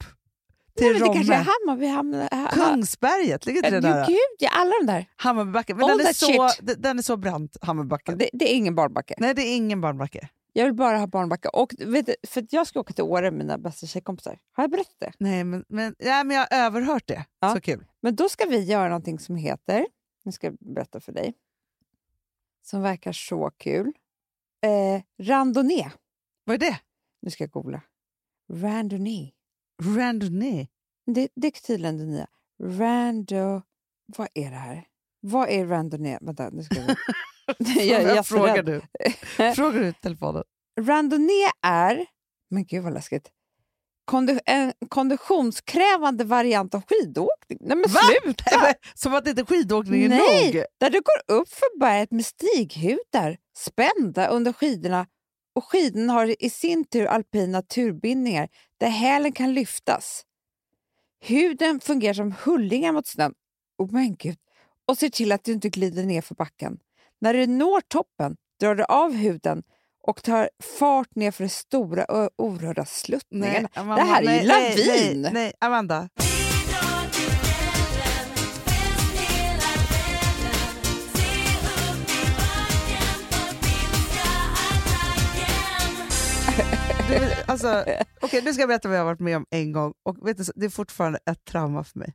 C: Nej,
B: till
C: men det kanske är
B: Romme.
C: Hammarby hamnade... ha- ha-
B: Kungsberget, ligger inte det
C: Ja,
B: där?
C: gud, ja, alla de där.
B: Hammarbybacken. Men
C: All
B: den är,
C: that
B: så,
C: shit.
B: d- den är så brant, Hammarbybacken.
C: Det, det är ingen barnbacke.
B: Nej, det är ingen barnbacke.
C: Jag vill bara ha barnbacke. Och, vet du, för att jag ska åka till Åre med mina bästa tjejkompisar. Har jag berättat det?
B: Nej, men, men, nej, men jag har överhört det.
C: Ja.
B: Så kul.
C: Men då ska vi göra någonting som heter, nu ska jag berätta för dig, som verkar så kul. Eh, randonnée.
B: Vad är det?
C: Nu ska jag googla. Randonnée.
B: Randonnée.
C: Det, det är tydligen det nya. Rando... Vad är det här? Vad är randonnée? Vänta, nu ska jag... jag, jag är
B: Jag frågar
C: jätterädd.
B: du. Frågar du i telefonen?
C: Randonnée är, men gud vad läskigt, kondi- en konditionskrävande variant av skidåkning. Nej men
B: Va?
C: sluta!
B: Som att inte skidåkning är
C: Nej.
B: nog.
C: Där du går upp för berget med stighudar spända under skidorna och skidorna har i sin tur alpina turbindningar där hälen kan lyftas. Huden fungerar som hullingar mot snön oh men gud, och ser till att du inte glider ner för backen. När du når toppen drar du av huden och tar fart ner för den stora ö- orörda sluttningen.
B: Amanda,
C: Det här är ju
B: nej, nej,
C: lavin.
B: Nej, nej, Amanda. Du, alltså, okay, nu ska jag berätta vad jag har varit med om en gång. Och vet du, det är fortfarande ett trauma för mig.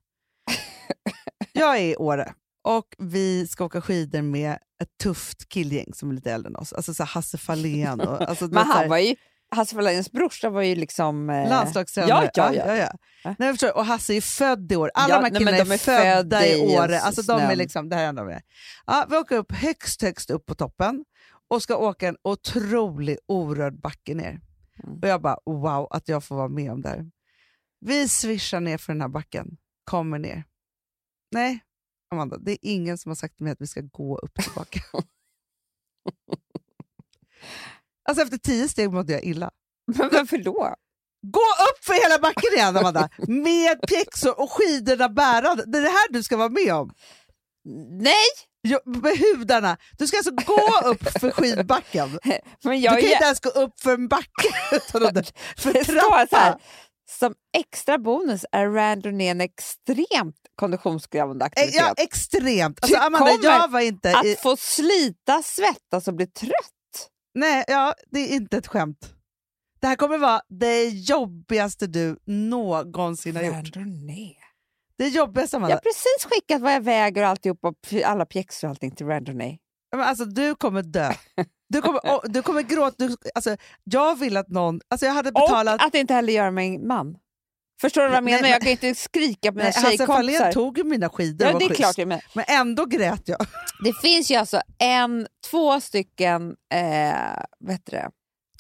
B: Jag är i Åre och vi ska åka skidor med ett tufft killgäng som är lite äldre än oss. Alltså så här Hasse Fahlén och... Alltså, du
C: Men
B: vet, så här-
C: han var ju, Hasse Fahlins brorsa var ju liksom... eh,
B: Landslagstränare.
C: Ja, ja, ja.
B: Nej, men förstår, du, och Hasse är ju född i år. Alla
C: Ja,
B: de här
C: nej,
B: killarna
C: men de
B: är,
C: är
B: födda
C: födda
B: i
C: i
B: år. Alltså, de är
C: snön.
B: liksom, det här är en av dem. ja, vi åker upp högst, högst upp på toppen och ska åka en otrolig orörd backe ner.
C: Mm.
B: Och jag bara, wow att jag får vara med om det här. Vi swishar ner för den här backen, kommer ner. Nej, Amanda, det är ingen som har sagt till mig att vi ska gå upp tillbaka. alltså efter tio steg mådde jag illa.
C: Men varför då?
B: Gå upp för hela backen igen Amanda, med pjäxor och skidorna bärande. Det är det här du ska vara med om.
C: Nej!
B: Jo, Med hudarna. Du ska alltså gå upp för skidbacken.
C: Men
B: Du
C: jag
B: kan ju
C: är
B: inte ens gå upp för en backe. utan att- För
C: Det står så
B: trappa.
C: här. Som extra bonus är randonnén extremt konditionskrävande
B: Eh,
C: aktivitet.
B: Ja, extremt. Alltså,
C: Du
B: Amanda, jag
C: Typ kommer
B: var inte i...
C: Att få slita, svettas och bli trött.
B: Nej, ja, det är inte ett skämt. Det här kommer vara det jobbigaste du någonsin har gjort.
C: Randonnée.
B: Det jobbigaste Amanda.
C: Jag har precis skickat vad jag väger och alltihop och p- alla pjäxor och allting till randonnée.
B: Ja, Men alltså, du kommer dö. Du kommer, och- du kommer gråta. Du, alltså, jag vill att någon... Alltså, jag hade betalat...
C: Och att inte heller göra mig man. Förstår du vad jag
B: Nej,
C: menar?
B: men-
C: jag kan inte skrika på mina
B: Nej, Hasse Fahlén
C: tjejkompisar.
B: tog ju mina skidor
C: Ja,
B: var
C: det är
B: schysst.
C: klart jag menar.
B: Men ändå grät jag.
C: Det finns ju alltså en, två stycken, eh, vad heter det?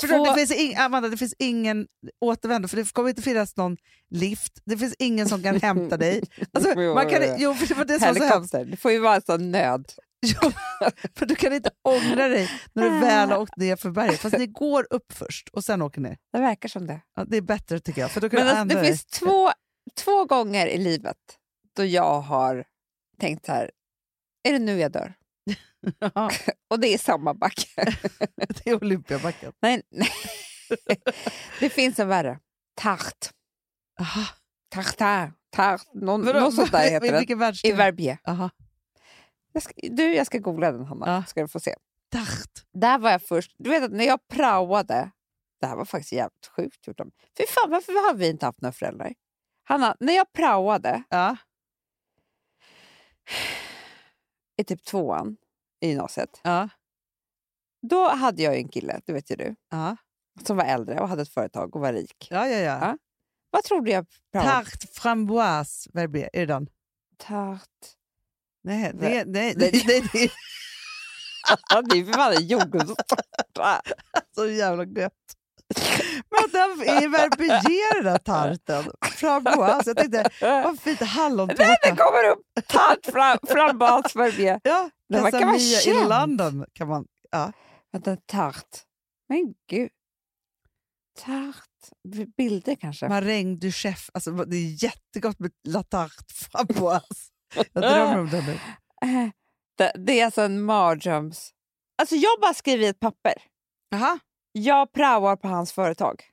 B: Förstår du,
C: Två-
B: det, finns ing, Amanda, det finns ingen återvändo, för det kommer inte finnas någon lift. Det finns ingen som kan hämta dig. Alltså,
C: Jo,
B: man
C: jo, jo.
B: kan, jo, för det var det
C: Alltså,
B: som var så hemskt.
C: Helikopter. Det får ju vara en sån nöd.
B: Jo, för du kan inte ångra dig när
C: Ah.
B: du väl har åkt ner för berget. Fast ni går upp först och sen åker ni.
C: Det verkar som det.
B: Ja, det är bättre tycker jag. För då kan
C: Men
B: du
C: alltså,
B: ändra
C: det
B: dig.
C: finns två, två gånger i livet då jag har tänkt så här, är det nu jag dör?
B: Ja,
C: Och det är samma backe.
B: det är Olympiabacken.
C: nej, nej. Det finns en värre. Tart. Ah.
B: Aha.
C: Tartar. Tart. Någon,
B: Vadå,
C: något sånt där
B: vad-
C: heter
B: i
C: det.
B: Vilken världsdel?
C: I Verbier.
B: Aha.
C: Jag ska, du, jag ska googla den Hanna.
B: Ja.
C: Ska du få se.
B: Tart.
C: Där var jag först. Du vet att när jag praoade, det här var faktiskt jävligt sjukt gjort av mig. Fy fan, varför har vi inte haft några föräldrar? Hanna, när jag praoade
B: Ja.
C: i typ tvåan i gymnasiet,
B: Ja.
C: då hade jag ju en kille, det vet ju du,
B: Ja.
C: som var äldre och hade ett företag och var rik.
B: Ja, ja, ja.
C: Ja. Vad trodde jag? praoade?
B: Tart framboise verbier. Är det den?
C: Tart.
B: Nej, det,
C: Nej.
B: nej,
C: Nej,
B: nej, nej, det är
C: Ja, det är för fan en jordgubbstårta.
B: så jävla gött. Men den är verbier den där tarten. Framboise. Jag tänkte, vad fint,
C: Det
B: hallontårta.
C: kommer upp tart fram, fram bak för mig.
B: Ja,
C: Den verkar vara
B: Casamia i
C: känd.
B: London kan man.
C: Vänta, tart. Men gud. Tart. B- Bilder kanske?
B: Maräng du chef. Alltså, det är jättegott med la tarte framboise. Jag drömmer om den nu.
C: Eh, Det, det är alltså en mardröms... Alltså jag bara skriver i ett papper.
B: Aha.
C: Jag praoar på hans företag.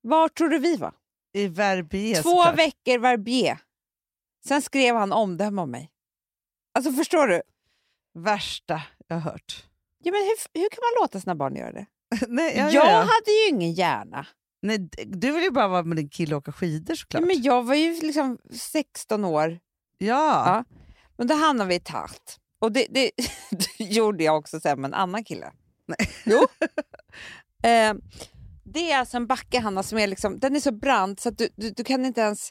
C: Var tror du vi var?
B: I Verbier
C: Två
B: såklart.
C: veckor Verbier. Sen skrev han omdöme om mig. Alltså förstår du?
B: Värsta jag har hört.
C: Ja, men hur, hur kan man låta sina barn göra det?
B: Nej, ja,
C: jag
B: ja, ja.
C: hade ju ingen hjärna.
B: Nej, d- du vill ju bara vara med din kille och åka skidor
C: Ja,
B: såklart.
C: men jag var ju liksom 16 år.
B: ja.
C: Ja. Men då hamnade vi i Taht. Och det, det, det gjorde jag också sen med en annan kille. Jo. eh, det är alltså en backe, Hanna, som är, liksom, den är så brant så att du, du, du kan inte ens...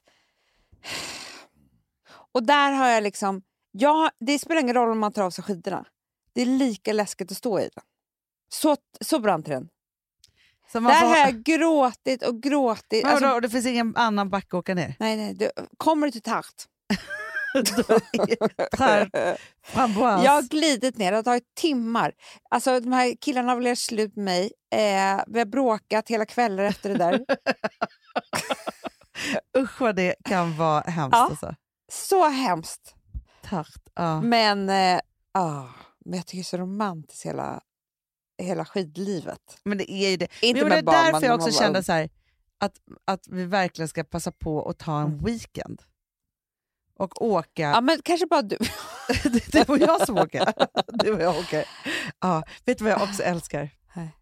C: Och där har jag liksom... Ja, det spelar ingen roll om man tar av sig skidorna. Det är lika läskigt att stå i den. Så, så brant är den.
B: Så man
C: Där
B: får,
C: har jag gråtit och gråtit.
B: men vadå,
C: Alltså,
B: och det finns ingen annan backe att åka ner?
C: nej, nej, du, kommer du till Taht?
B: Trär, framboas.
C: Jag har glidit ner, det har tagit timmar. Alltså, de här killarna har väl gjort slut med mig. Eh, vi har bråkat hela kvällar efter det där.
B: Usch vad det kan vara hemskt.
C: Ja.
B: Alltså.
C: så hemskt.
B: Tart, ja.
C: Men, eh, ah, men jag tycker det är så romantiskt hela, hela skidlivet.
B: Men det är ju det.
C: Inte
B: Jo, det är
C: med barn,
B: därför
C: men
B: jag
C: när
B: också
C: man var
B: kände
C: ung.
B: så här, att, att vi verkligen ska passa på att ta en weekend. Och åka.
C: Mm. Ja, men kanske bara du.
B: det det var jag som åker. Det var jag som åker. Ja, vet du vad jag också älskar?
C: Ah. Nej.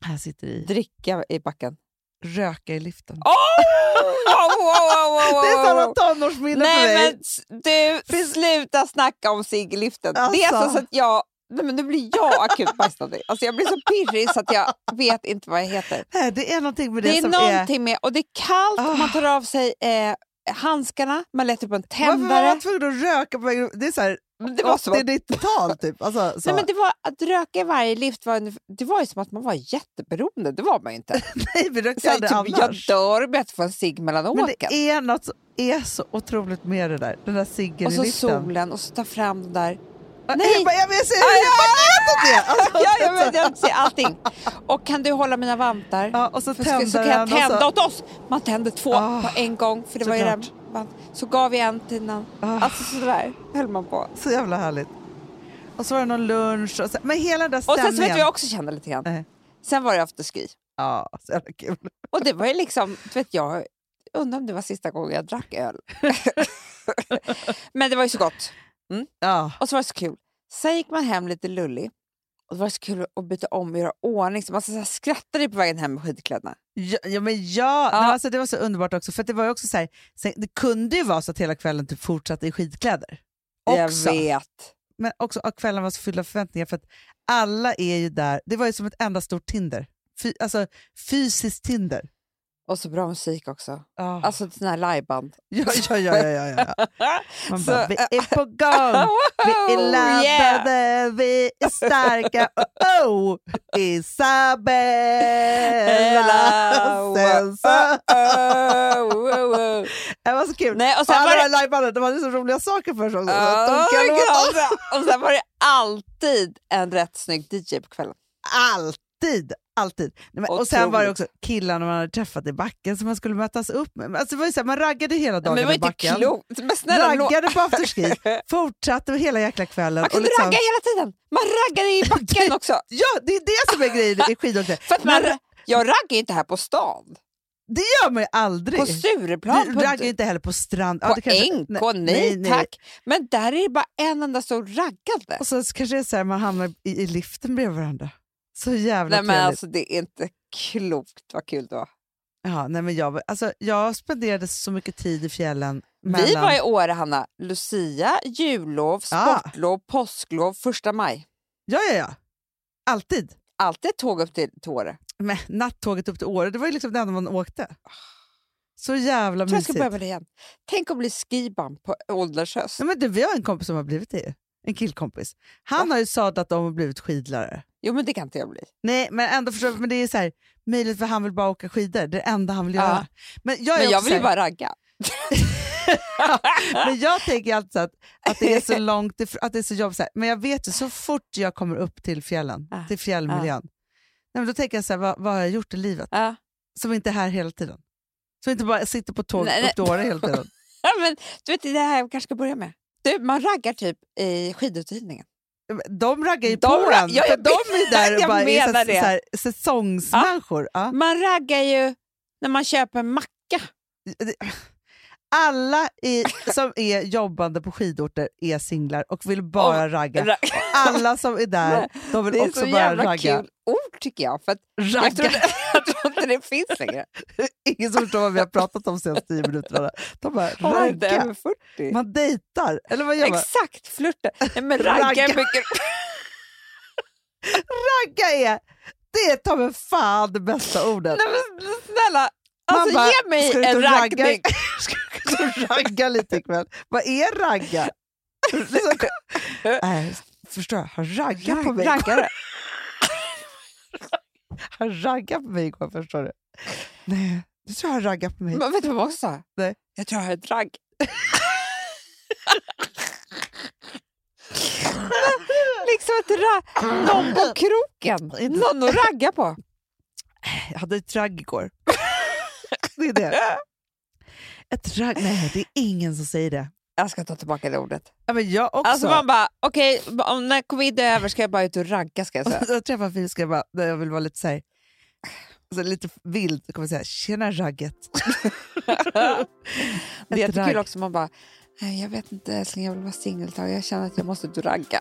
B: Här sitter i.
C: Dricka i backen.
B: Röka i liften.
C: Oh! Wow, wow, wow, wow, wow.
B: Det är sådana tonårsminnen för
C: Nej
B: mig.
C: men s- du, sluta snacka om siggliften. Det är
B: Alltså.
C: alltså så att jag... Nej, men nu blir jag akut bajsnödig. Alltså jag blir så pirrig så att jag vet inte vad jag heter.
B: Nej, det är någonting med det,
C: Det, är
B: som
C: någonting med... Och det är kallt,
B: Ah.
C: man tar av sig eh, handskarna, man lägger upp en
B: är... Varför var
C: tändare.
B: man tvungen att röka på vägen? Det är så här,
C: Men Det var, som att,
B: 80-90-tal typ. Alltså, så.
C: nej, men det var att röka i varje lift var, ungefär- det var ju som att man var jätteberoende. Det var man ju inte.
B: Nej, vi rökte
C: Så jag,
B: aldrig
C: typ, jag
B: annars.
C: dör om jag inte får en cigg mellan
B: Men
C: åken.
B: det är något som är så otroligt med det där. Den där ciggen
C: Och
B: i
C: så
B: liften.
C: solen och så ta fram den där
B: Ja,
C: Nej.
B: Jag, bara, jag, jag ser hur jag bara ätit det! Alltså,
C: ja, jag, vet, jag ser allting. Och kan du hålla mina vantar?
B: Ja, och så
C: för ska,
B: tänder
C: så kan jag
B: den och
C: tända
B: så-
C: åt oss. Man tände två
B: Ah,
C: på en gång. För det var ju den
B: såklart.
C: vant. Så gav vi en till någon.
B: Ah.
C: Alltså sådär höll man på.
B: Så jävla härligt. Och så var det någon lunch. Och så, men hela den där
C: Och
B: stämningen.
C: sen så vet du vad jag också kände lite grann?
B: Nej.
C: Sen var det afterski.
B: Ja, så jävla kul.
C: Och det var ju liksom, du vet jag undrar om det var sista gången jag drack öl. Men det var ju så gott.
B: Ja.
C: Och så var det så kul. Sen gick man hem lite lullig. Och det var så kul att byta om och göra ordning. Så man så här skrattade på vägen hem med skidkläderna.
B: Ja, ja, men ja.
C: Ja.
B: Nej, alltså, det var så underbart också. För att det, var ju också så här, sen, det kunde ju vara så att hela kvällen typ fortsatte i skidkläder. Också.
C: Jag vet.
B: Men också att kvällen var så full av förväntningar för att alla är ju där. Det var ju som ett enda stort Tinder. Fy, alltså fysiskt Tinder.
C: Och så bra musik också.
B: Ja.
C: Alltså sådana här liveband.
B: Ja, ja, ja, ja, ja, ja. Man
C: Så- eh,
B: bara, vi är på gång, vi
C: Oh,
B: är laddade, vi är starka, oh, oh. Isabella
C: Hello.
B: Sensa.
C: Oh, oh, oh.
B: Det Ah, var så kul.
C: Nej, och
B: Och
C: sen
B: alla
C: var det...
B: de här livebanden, de hade så roliga saker för sig också. Så att
C: Oh,
B: de kan låta
C: God. och sen var det alltid en rätt snygg DJ på kvällen.
B: alltid. Alltid. Nej, men, och sen var det
C: Otroligt.
B: också killarna man hade träffat i backen som man skulle mötas upp med. Men Alltså, det var ju så här, man raggade hela
C: Men
B: dagen
C: det var
B: i
C: inte
B: backen.
C: klokt. Men snälla, lå-
B: Raggade på afterski, fortsatte hela jäkla kvällen.
C: man
B: och
C: kunde
B: liksom-
C: ragga hela tiden. Man raggade i backen också.
B: Ja, det är det som är grejen i skidåkning.
C: För att man, jag raggar ju inte här på stan.
B: Det gör man ju aldrig.
C: På
B: du
C: Stureplan. på-
B: raggar ju inte heller på strand. Ja,
C: På
B: det kanske-
C: NK, nej, tack. Men där är det bara en enda stor raggande.
B: Och så kanske det är så här, man hamnar i, i liften bredvid varandra. Så jävla
C: Nej, men
B: trevligt.
C: alltså, det är inte klokt vad kul det var.
B: Ja, nej, men jag, var- alltså, jag spenderade så mycket tid i fjällen. Mellan... Ah.
C: Vi var i Åre, Hanna. Lucia, jullov,
B: Ja.
C: sportlov, påsklov, första maj.
B: Ja, ja, ja. Alltid.
C: Alltid ett tåg upp till, till Åre.
B: Men nattåget upp till Åre, det var ju liksom det enda man åkte. Så jävla
C: Jag tror jag ska
B: mysigt.
C: börja med det igen. Tänk att bli skibam på ålderns höst.
B: Ja, men du, vi har en kompis som har blivit det. ju. En killkompis. Han har ju sadlat om och blivit skidlärare.
C: Jo, men det kan inte jag bli.
B: Nej, men ändå förstår jag, men det är så här, möjligt för han vill bara åka skidor. Det är det enda han vill
C: Ja.
B: göra. Men jag, är
C: Men jag
B: också
C: vill ju
B: så här,
C: bara ragga.
B: men jag tänker alltid så att, att det är så långt ifrån, att det är så jobbigt. Så här. Men jag vet ju, så fort jag kommer upp till fjällen,
C: Ja.
B: till fjällmiljön,
C: ah.
B: nej, men då tänker jag så här, vad, vad har jag gjort i livet
C: Ja.
B: som inte är här hela tiden? Som inte bara sitter på
C: Nej,
B: tåget
C: nej.
B: upp till Åre hela tiden.
C: Ja, men, du vet, det är det här jag kanske ska börja med. Du, man raggar typ i skiduthyrningen.
B: De raggar ju
C: De
B: på
C: ra-
B: en,
C: Ja, jag
B: för de är ju där och
C: jag
B: bara är
C: menar
B: så,
C: det. Ah.
B: så här, säsongsmänniskor. Ja.
C: Man raggar ju när man köper en macka
B: Alla i, som är jobbande på skidorter är singlar och vill bara ragga.
C: Ra-
B: Alla som är där, de vill
C: Det är så
B: också bara
C: jävla
B: ragga.
C: kul ord tycker jag. För att jag, tror
B: Ragga.
C: inte, jag tror inte det finns längre.
B: Ingen som förstår vad vi har pratat om de senaste tio minuterna. De bara
C: Om man inte är
B: ragga.
C: över 40.
B: Man dejtar, eller vad gör man?
C: Exakt, flörta. Nej, men ragga
B: Ragga.
C: är mycket...
B: Ragga är, det är ta mig fan det bästa ordet.
C: Nej, men snälla,
B: Man
C: alltså,
B: bara,
C: ge mig
B: "Ska du ut
C: en
B: och ragga?"
C: raggning.
B: Ska du ragga lite ikväll? Vad är ragga? Så, nej, förstår jag, han raggade på mig.
C: Raggare.
B: Han raggade på mig igår, förstår du? Nej, du tror jag han raggade på mig.
C: Men vet du vad man också sa?
B: Nej.
C: Jag tror jag har ett ragg. liksom ett ragg. Någon på kroken. Någon att ragga på.
B: Jag hade ett ragg igår. Det är det. Ett ragg? Nej, det är ingen som säger det.
C: Jag ska ta tillbaka det ordet.
B: Ja, men jag också.
C: Alltså man bara, okej, om när covid är över ska jag bara ut och ragga ska jag säga.
B: Och Jag träffar Filip ska jag bara, när jag vill vara lite så här, alltså lite vild, då kommer jag säga “tjena ragget”.
C: Det är
B: Ett
C: jättekul
B: ragg.
C: också, man bara, "Nej, jag vet inte älskling, jag vill vara singel ett tag. jag känner att jag måste ut och ragga.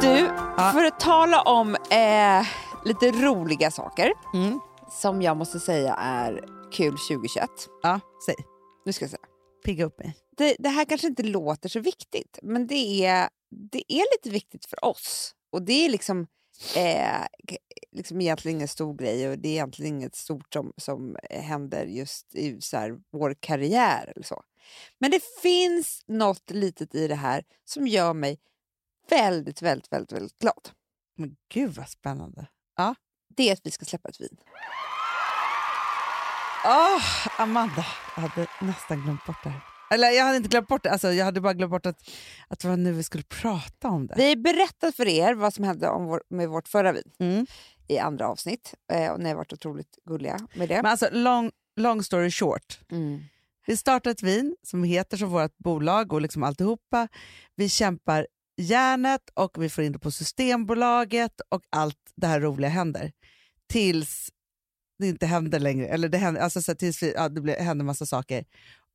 C: Du, för att tala om eh, lite roliga saker
B: Mm.
C: som jag måste säga är kul 2021.
B: Ja, säg.
C: Nu ska jag säga.
B: Pigga upp mig.
C: Det, det här kanske inte låter så viktigt, men det är, det är lite viktigt för oss. Och det är liksom, eh, g- liksom egentligen ingen stor grej och det är egentligen inget stort som, som eh, händer just i så här, vår karriär eller så. Men det finns något litet i det här som gör mig väldigt, väldigt, väldigt, väldigt glad.
B: Men gud vad spännande.
C: Det är att vi ska släppa ett vin.
B: Åh, Ah, Amanda, jag hade nästan glömt bort det här. Eller jag hade inte glömt bort det, alltså, jag hade bara glömt bort att, att det var nu vi skulle prata om det.
C: Vi har berättat för er vad som hände om vår, med vårt förra vin
B: Mm.
C: i andra avsnitt. Eh, och ni har varit otroligt gulliga med det.
B: Men alltså, long, long story short.
C: Mm.
B: Vi startar ett vin som heter som vårt bolag och liksom alltihopa. Vi kämpar järnet och vi får in det på Systembolaget och allt det här roliga händer. Tills det inte händer längre. Eller det händer, alltså så här, tills vi, ja, det blir, händer massa saker.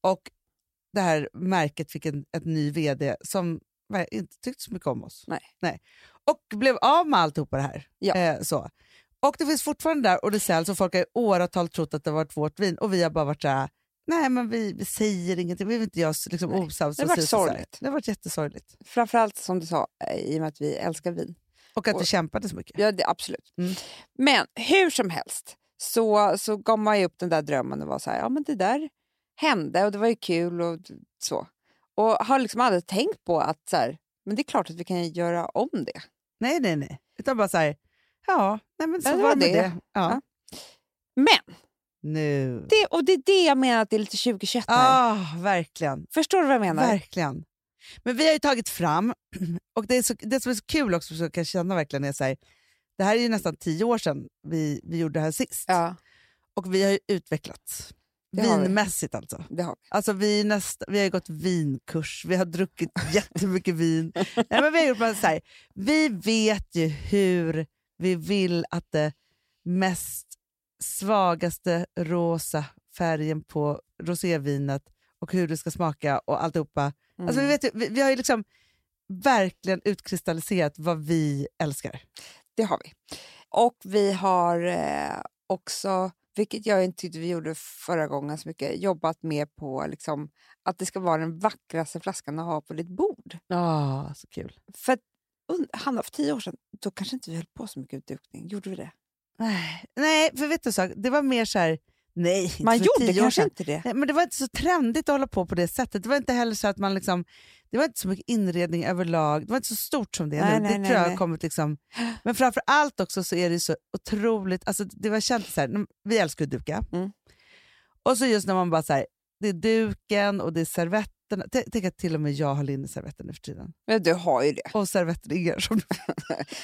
B: Och det här märket fick en ett ny vd som ver- inte tyckte så mycket om oss.
C: Nej.
B: Och blev av med alltihopa det här.
C: Ja.
B: Eh, så. Och det finns fortfarande där och det säljs och folk har i åratal trott att det har varit vårt vin och vi har bara varit så här. Nej men vi, vi säger ingenting, vi vill inte göra oss liksom,
C: Nej.
B: osams.
C: Det har
B: och
C: varit
B: så- så- så-
C: sorgligt.
B: Det har varit jättesorgligt.
C: Framförallt som du sa, eh, i och med att vi älskar vin.
B: Och att
C: Och-
B: vi kämpade så mycket.
C: Ja, det, absolut.
B: Mm.
C: Men hur som helst så, så gav man ju upp den där drömmen och var så här, ja men det där hände och det var ju kul och d- så. Och har liksom aldrig tänkt på att så här, men det är klart att vi kan göra om det.
B: Nej nej nej. Utan bara så här, ja, nej, men så
C: Ja, det
B: var
C: var
B: det med
C: det.
B: det. Ja.
C: Ja. Men,
B: Nu.
C: det, och det är det jag menar att det är lite 2021 här.
B: Ah, verkligen.
C: Förstår du vad jag menar?
B: Verkligen. Men vi har ju tagit fram, och det, är så, det som är så kul också, som jag kan känna verkligen är så här, det här är ju nästan tio år sedan vi, vi gjorde det här sist.
C: Ja,
B: Och vi har ju utvecklats.
C: Det har vi.
B: Vinmässigt alltså.
C: det har vi.
B: alltså vi, är nästa, vi har ju gått vinkurs, vi har druckit jättemycket vin. Nej, men vi, har gjort bara så här, vi vet ju hur vi vill att det mest svagaste rosa färgen på rosévinet och hur det ska smaka och alltihopa.
C: Mm.
B: Alltså, vi, vet ju, vi, vi har ju liksom verkligen utkristalliserat vad vi älskar.
C: Det har vi. Och vi har eh, också, vilket jag inte tyckte vi gjorde förra gången så mycket, jobbat med på liksom, att det ska vara den vackraste flaskan att ha på ditt bord.
B: Ja, så kul.
C: För att, und- Hanna, för tio år sedan, då kanske inte vi höll på så mycket utdukning. Gjorde vi det?
B: Nej, Nej, för vet du så, det var mer så här, nej, inte
C: Man
B: för
C: gjorde
B: tio år
C: kanske
B: sedan.
C: inte det.
B: Nej, men det var inte så trendigt att hålla på på det sättet. Det var inte heller så att man liksom, det var inte så mycket inredning överlag. Det var inte så stort som det är
C: Nej,
B: nu.
C: nej,
B: det
C: nej,
B: tror jag har
C: nej.
B: kommit liksom. Men framför allt också så är det ju så otroligt, alltså det var känt så här, när- vi älskar ju att duka.
C: Mm.
B: Och så just när man bara så här, det är duken och det är servetter servetterna. T- Tänk att till och med jag har linneservetter nu för tiden.
C: Men du har ju det.
B: Och servettringar. Som du,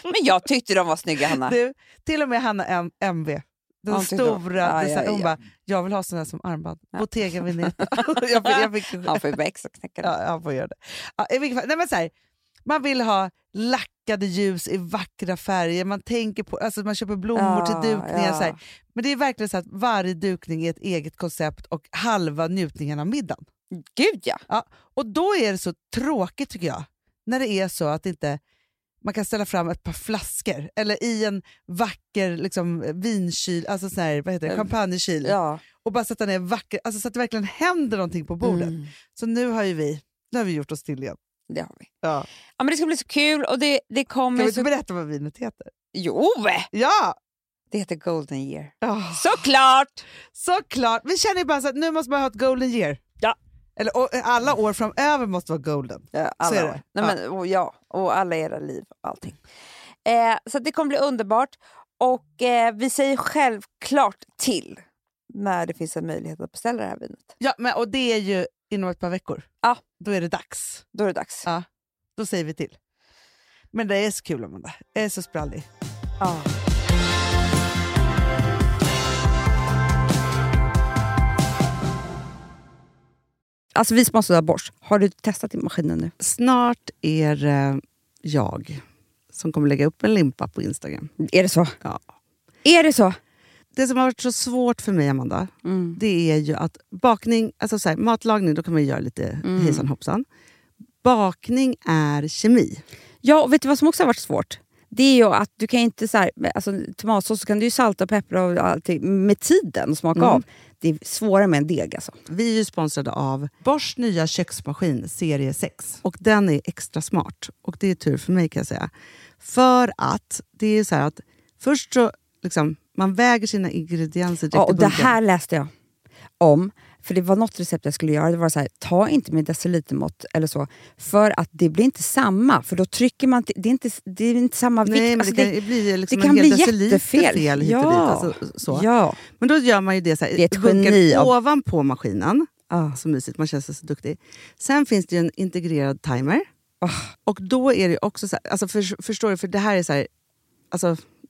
C: Men jag tyckte de var snygga, Hanna.
B: du, till och med Hanna M- MV. Den
C: Hon tyckte-
B: stora.
C: Ja,
B: design-
C: ja,
B: Hon
C: ja.
B: bara, jag vill ha sån här som armband.
C: Ja.
B: Bottega Veneta. jag, fick- jag fick,
C: Han får ju växa och knäcka den.
B: Ja, han får göra det. Ja, i vilket fall, nej men så här, man vill ha lackade ljus i vackra färger, man tänker på, alltså man köper blommor
C: Ah,
B: till dukningar. Så här. Men det är verkligen så att varje dukning är ett eget koncept och halva njutningen av middagen.
C: Gud ja.
B: Och då är det så tråkigt tycker jag, när det är så att inte man kan ställa fram ett par flaskor eller i en vacker liksom, vinkyl, alltså sån här, vad heter det,
C: Mm.
B: champagnekyl
C: ja.
B: och bara sätta ner vacker, alltså så att det verkligen händer någonting på bordet.
C: Mm,
B: Så nu har ju vi, nu har vi gjort oss till igen.
C: det har vi.
B: Ja.
C: Ja, men det ska bli så kul och det, det
B: Kan vi
C: kommer...
B: inte
C: Så...
B: berätta vad vinet heter?
C: Jo!
B: Ja!
C: Det heter Golden year.
B: Oh,
C: Såklart!
B: såklart! Vi känner ju bara så att nu måste man ha ett golden year.
C: Ja.
B: Eller och, eh, alla år framöver måste vara golden.
C: Ja, alla
B: Så är
C: år.
B: det.
C: Nej,
B: Ja.
C: men, och, ja, och alla era liv och allting. Eh, så att det kommer bli underbart. Och eh, vi säger självklart till när det finns en möjlighet att beställa det här vinet.
B: Ja, men, och det är ju inom ett par veckor.
C: Ja.
B: Då är det dags.
C: Då är det dags.
B: Ja. Då säger vi till. Men det är så kul Amanda. Jag är så sprallig.
C: Ja. Alltså vi som har sådär borst, har du testat i maskinen nu?
B: Snart är eh, jag som kommer lägga upp en limpa på Instagram.
C: Är det så?
B: Ja.
C: Är det så?
B: Det som har varit så svårt för mig Amanda, det är ju att bakning, alltså så här, matlagning, då kan man ju göra lite hejsan hoppsan. Bakning är kemi.
C: Ja, och vet du vad som också har varit svårt? Det är ju att du kan inte så här, alltså, tomatsås så kan du ju salta och peppra och allting med tiden och smaka av. Det är svårare med en deg alltså.
B: Vi är ju sponsrade av Bors nya köksmaskin serie 6. Och den är extra smart. Och det är tur för mig kan jag säga. För att det är så här att först så liksom, man väger sina ingredienser direkt
C: Ja, och
B: i
C: det
B: bunken.
C: här läste jag om. För det var något recept jag skulle göra. Det var så här, ta inte med decilitermått eller så. För att det blir inte samma. För då trycker man... till- Det är inte, det är inte samma vikt.
B: Nej, men
C: Alltså,
B: det kan ju bli liksom
C: det kan
B: en hel
C: bli
B: deciliter
C: jättefel.
B: fel hit och
C: Ja.
B: dit. Alltså, så.
C: Ja.
B: Men då gör man ju det så här,
C: Det är ett
B: i bunkern
C: geni av-
B: ovanpå maskinen.
C: Ah.
B: Så mysigt, man känns så duktig. Sen finns det ju en integrerad timer.
C: Ah.
B: Och då är det ju också så här, alltså för, förstår du, för det här är så här, alltså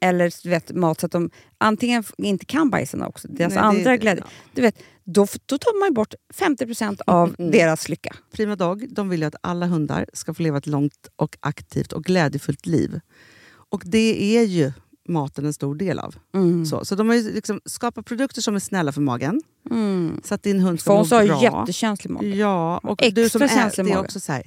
D: eller du vet, mat så att de antingen f- inte kan bajsa också, deras
B: Nej, det-
D: andra
B: det-
D: glädje.
B: ja.
D: Du vet, då, f- då tar man ju bort 50% av deras lycka.
B: Prima Dog Mm. de vill ju att alla hundar ska få leva ett långt, och aktivt och glädjefullt liv. Och det är ju maten en stor del av.
D: Mm.
B: Så, så de har ju liksom skapat produkter som är snälla för magen,
D: Mm.
B: så att din hund ska
D: Fons
B: må
D: har
B: bra. Mm.
D: ju jättekänslig mage.
B: Ja, och
D: Extra
B: du som är,
D: känslig
B: det är
D: mage.
B: också så här,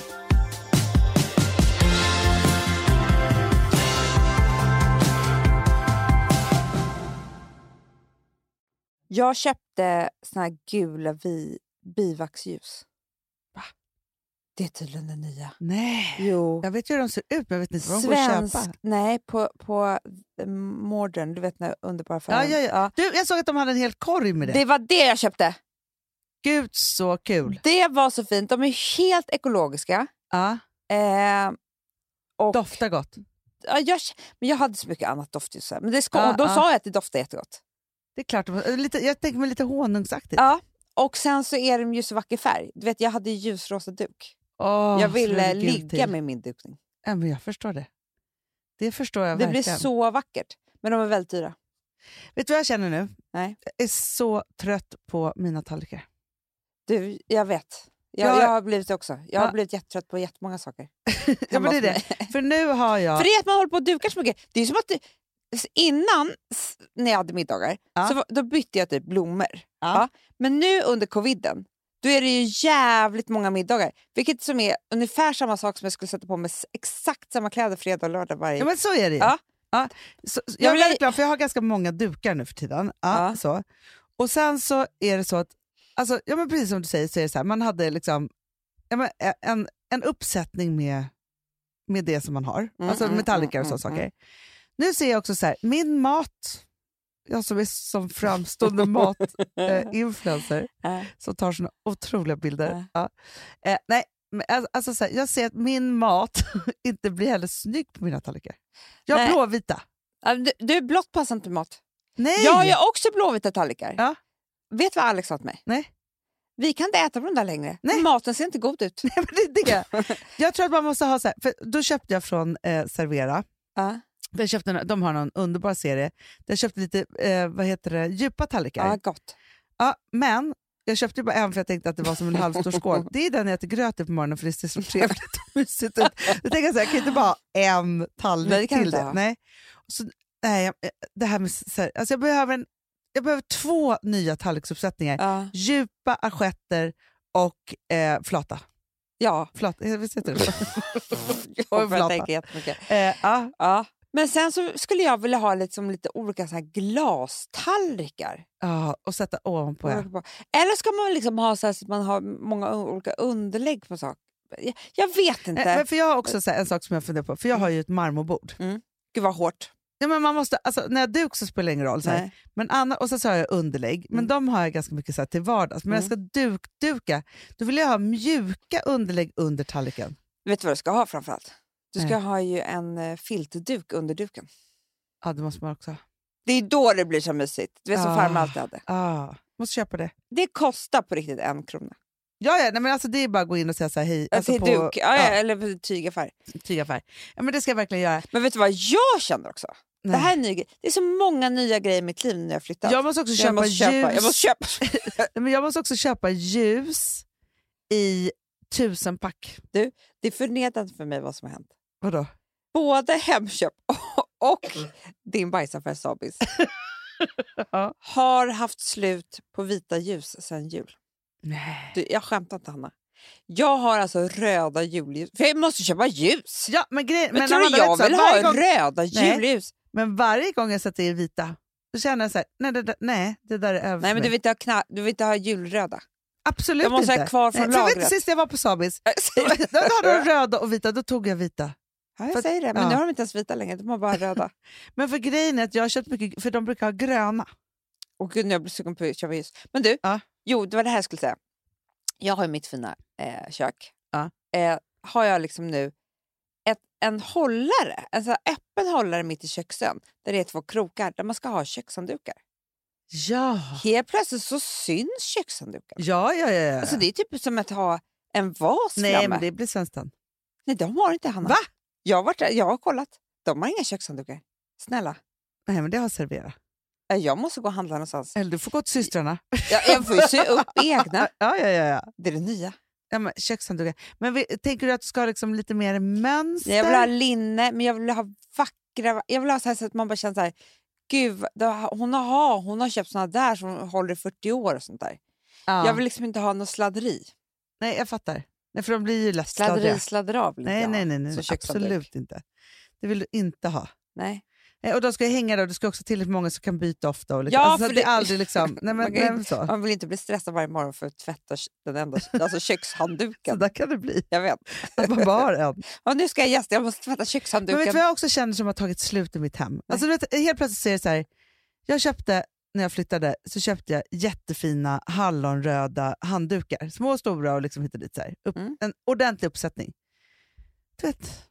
C: Jag köpte såna här gula vi, bivaxljus. Va? Det är tydligen det nya.
B: Nej.
C: Jo.
B: Jag vet ju hur de ser ut, men jag vet inte vad de går att
C: Svensk.
B: köpa.
C: Nej, på, på eh, Modern. Du vet den där underbara
B: Ja,
C: färgen.
B: ja, ja. Du, jag såg att de hade en hel korg med det.
C: Det var det jag köpte.
B: Gud så kul!
C: Det var så fint. De är helt ekologiska.
B: Ja.
C: Eh, och,
B: Doftar gott.
C: Ja, jag, men jag hade så mycket annat doftljus. här. Men det ska,
B: Ja,
C: och då
B: ja.
C: sa jag att det doftade jättegott.
B: Det är klart, de- eh, lite, jag tänker mig lite honungsaktigt.
C: Ja, och sen så är de ju så vacker färg. Du vet, jag hade ju ljusrosa duk.
B: Åh,
C: jag
B: så det
C: ville
B: är gult
C: ligga
B: till.
C: med min dukning.
B: Ja, men jag förstår det. Det förstår jag
C: det blir
B: verkligen.
C: så vackert. Men de är väldigt dyra.
B: Vet du vad jag känner nu?
C: Nej.
B: Jag är så trött på mina tallrikar.
C: Du, jag vet. Jag,
B: Ja.
C: jag har blivit det också. Jag har
B: Ja.
C: blivit jättetrött på jättemånga saker.
B: Ja,
C: hemma
B: men det är
C: hos mig.
B: det. För nu har jag...
C: För det är att man håller på och dukar så mycket. Det är som att det, s- innan, s- när jag hade middagar,
B: Ja.
C: så var, då bytte jag typ blommor. Ja. Men nu under coviden, då är det ju jävligt många middagar. Vilket som är ungefär samma sak som jag skulle sätta på mig s- exakt samma kläder fredag och lördag varje
B: Ja, men så är det ju.
C: Ja.
B: Ja. Så, så jag
C: Jag
B: är
C: blir-
B: väldigt glad, för jag har ganska många dukar nu för tiden. Ja,
C: Ja.
B: Så. Och sen så är det så att, alltså, ja, men precis som du säger, så är det så här, man hade liksom ja, men e- en, en uppsättning med, med det som man har, alltså
C: mm,
B: med tallrikar och
C: mm,
B: sådana
C: mm,
B: saker. Nu ser jag också så här, min mat, jag som är som framstående matinfluencer, eh, influencer,
C: Ja.
B: som tar såna otroliga bilder.
C: Ja.
B: Ja. Eh, nej, men al- alltså, så här, jag ser att min mat inte blir heller snygg på mina tallrikar. Jag har
C: Nej.
B: blåvita.
C: Ja, Du, du är blått passar inte mat.
B: Nej!
C: Jag har ju också blåvita tallrikar.
B: Ja.
C: Vet du vad Alex sa till mig?
B: Nej.
C: Vi kan inte äta på de där längre.
B: Nej.
C: Maten ser inte god ut.
B: Nej, men det är det. Jag tror att man måste ha så här, för då köpte jag från eh, Servera,
C: Ja.
B: jag köpte, en- de har någon underbar serie, där jag köpte lite eh, vad heter det, djupa tallrikar.
C: Ja,
B: Ja.
C: gott.
B: men jag köpte ju bara en för jag tänkte att det var som en halvstor skål. Det är den jag äter gröt i på morgonen för det ser så trevligt och mysigt ut. Då tänker jag så här, jag kan inte bara ha en tallrik
C: Nej, det kan
B: till
C: inte
B: det.
C: ha.
B: Nej. Så, nej, jag, eh, det här med, så här, alltså jag, behöver en, jag behöver två nya tallriksuppsättningar.
C: Ja.
B: Djupa assietter och eh, flata.
C: ja.
B: Flata, visst heter det så?
C: Jag börjar
B: flata.
C: tänka jättemycket.
B: Eh, ja.
C: Ja. Men sen så skulle jag vilja ha liksom lite olika så här glastallrikar.
B: Ja, och sätta ovanpå. Ja.
C: Eller ska man liksom ha så, här så att man har många un- olika underlägg på saker? Jag, jag vet inte.
B: Eh, Men för jag har också så här, en sak som jag funderar på, för jag har ju ett marmorbord.
C: Gud vad hårt.
B: Ja, men man måste, alltså, när jag har duk så spelar det ingen roll. Så här.
C: Nej.
B: Men Anna, och sen så har jag underlägg,
C: Mm.
B: men de har jag ganska mycket så här, till vardags. Men när jag ska dukduka, då vill jag ha mjuka underlägg under tallriken.
C: Vet du vad du ska ha framförallt? Du ska
B: Nej.
C: ha ju en eh, filterduk under duken.
B: Ja, det måste man också ha.
C: Det är då det blir så mysigt. Du vet som
B: Ah.
C: farmor alltid hade.
B: Ah, måste köpa det.
C: Det kostar på riktigt en krona.
B: Ja, ja nej, men alltså, det är bara att gå in och säga så här, hej.
C: Alltså
B: Alltså,
C: till
B: på
C: duk, ja, ja.
B: ja.
C: eller på tygaffär.
B: tygaffär. Ja, men det ska jag verkligen göra.
C: Men vet du vad jag känner också?
B: Nej.
C: Det här är en ny grej. Det är så många nya grejer i mitt liv när jag har flyttat.
B: jag måste också köpa
C: jag måste
B: ljus.
C: köpa, jag måste köpa.
B: Nej, men jag måste också köpa ljus i tusenpack.
C: Det är förnedrande för mig vad som har hänt.
B: Vadå?
C: Både Hemköp och din bajsaffär Sabis
B: Ja.
C: har haft slut på vita ljus sedan jul.
B: Nej.
C: Du, jag skämtar inte Hanna. Jag har alltså röda julljus. För jag måste köpa ljus.
B: Ja, men grejen,
C: men,
B: men,
C: tror du
B: Amanda, vet
C: jag
B: du så,
C: vill
B: varje
C: ha
B: gång,
C: röda
B: Nej.
C: julljus?
B: men varje gång jag sätter i vita, då känner jag så här, nej det, där- nej, det där är över
C: Nej,
B: för
C: men du
B: mig.
C: vill inte ha, kna- du vill inte ha julröda.
B: Absolut
C: jag måste
B: inte.
C: ha kvar från
B: Nej, för vet du,
C: lagret.
B: sist jag var på Sabis,
C: Äh, säger
B: då
C: du?
B: då hade de röda och vita, då tog jag vita.
C: Ja, jag
B: För-
C: säger det. Men
B: ja.
C: nu har de inte ens vita längre. De har bara röda.
B: Men för grejen är att jag har köpt mycket, för de brukar ha gröna.
C: Och gud, nu har jag blivit sugen på att köpa ljus. Men du,
B: Ja.
C: jo, det var det här jag skulle säga. Jag har ju mitt fina eh, kök.
B: Ja.
C: Eh, har jag liksom nu ett, en hållare, en sån här öppen hållare mitt i köksön där det är två krokar där man ska ha kökshanddukar.
B: Ja,
C: Helt plötsligt så syns kökshandduken.
B: ja, ja. ja, ja.
C: Alltså det är typ som att ha en vas
B: nej,
C: framme.
B: men det blir svenskan.
C: Nej, de har inte Hanna.
B: Va?
C: Jag har, varit, där- jag har kollat. De har inga kökshanddukar. Snälla,
B: Nej, men det har Servera.
C: Eh, jag måste gå och handla någonstans.
B: Eller du får gå till systrarna.
C: Jag, jag får ju sy upp egna.
B: Ja, ja, ja. ja.
C: Det är det nya.
B: ja men kökshanddukar. Men vi, tänker du att du ska ha liksom lite mer mönster?
C: Nej, Jag vill ha linne, men jag vill ha vackra... Jag vill ha så, här så att man bara känner så här... Gud, vad- det, har- hon, har, hon har köpt såna där som håller i 40 år och sånt där.
B: ja.
C: Jag vill liksom inte ha något sladderi.
B: Nej, jag fattar. Nej, för de blir ju lätt
C: Sladderi,
B: stadiga.
C: sladdra av vill inte
B: Nej,
C: jag ha
B: nej, nej, nej,
C: som
B: nej
C: kökshandduk.
B: absolut inte. Det vill du inte ha.
C: Nej.
B: Eh, Och de ska ju hänga då, du ska också ha tillräckligt många som kan byta ofta. Och liksom.
C: Ja,
B: alltså, så
C: för
B: att det
C: det-
B: är aldrig liksom... Nej, men,
C: Man kan
B: nej,
C: ju-
B: men så.
C: Man vill inte bli stressad varje morgon för att tvätta kö- den enda, alltså
B: så
C: kökshandduken.
B: där kan det bli.
C: Jag vet.
B: Att man bara har en.
C: Ja, nu ska jag gästa, jag måste tvätta
B: Men vet du
C: kökshandduken.
B: vad jag också känner som har tagit slut i mitt hem? Alltså, du vet, helt plötsligt så är det så här, jag köpte, när jag flyttade, så köpte jag jättefina hallonröda handdukar. Små och stora och liksom hit och dit. Så här. Upp,
C: Mm.
B: En ordentlig uppsättning. Du vet,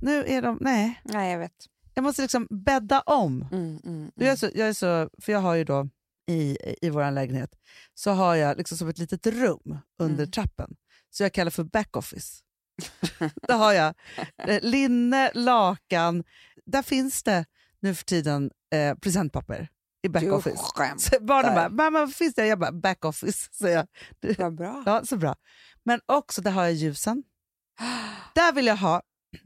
B: nu är de... Nej,
C: Nej, jag vet.
B: jag måste liksom bädda om.
C: Mm, mm,
B: Jag, är
C: mm.
B: så, jag är så, för jag har ju då i, i vår lägenhet så har jag liksom som ett litet rum under
C: Mm.
B: trappen så jag kallar för backoffice. där har jag eh, linne, lakan, där finns det nu för tiden eh, presentpapper i
C: Du
B: backoffice.
C: skämt.
B: Så Barnen bara,
C: skämtar.
B: mamma vad finns det? Jag bara, backoffice säger jag.
C: Vad bra.
B: Ja, så bra. Men också där har jag ljusen. Där vill jag ha,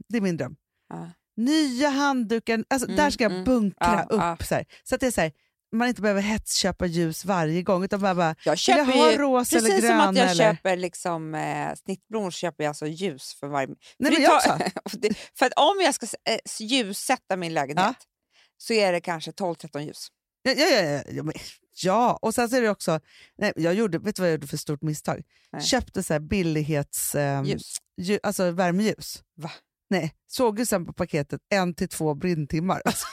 B: det är min dröm,
C: Ja.
B: nya handduken. Alltså,
C: Mm,
B: där ska jag
C: mm.
B: bunkra
C: Ja,
B: upp. Så, här, så att det är så här, man inte behöver hetsköpa ljus varje gång. Utan bara, bara
C: Jag
B: vill jag
C: köper
B: ha
C: ju
B: rosa
C: Precis
B: Alltså, eller
C: som
B: gröna?
C: att jag
B: eller?
C: köper liksom, eh, snittblommor så köper jag alltså ljus för varje...
B: Nej,
C: för
B: men
C: det
B: jag
C: tar-
B: också.
C: för det- för att om jag ska s- eh, s- ljussätta min lägenhet
B: Ja.
C: så är det kanske 12-13 ljus.
B: Ja, ja, ja, ja, ja, men, ja, och sen så är det också, nej, jag gjorde, vet du vad jag gjorde för stort misstag?
C: Nej.
B: Köpte så här billighets, ehm,
C: ljus.
B: lju- alltså värmeljus.
C: Va?
B: Nej, såg ju sen på paketet en till två brinntimmar. Alltså,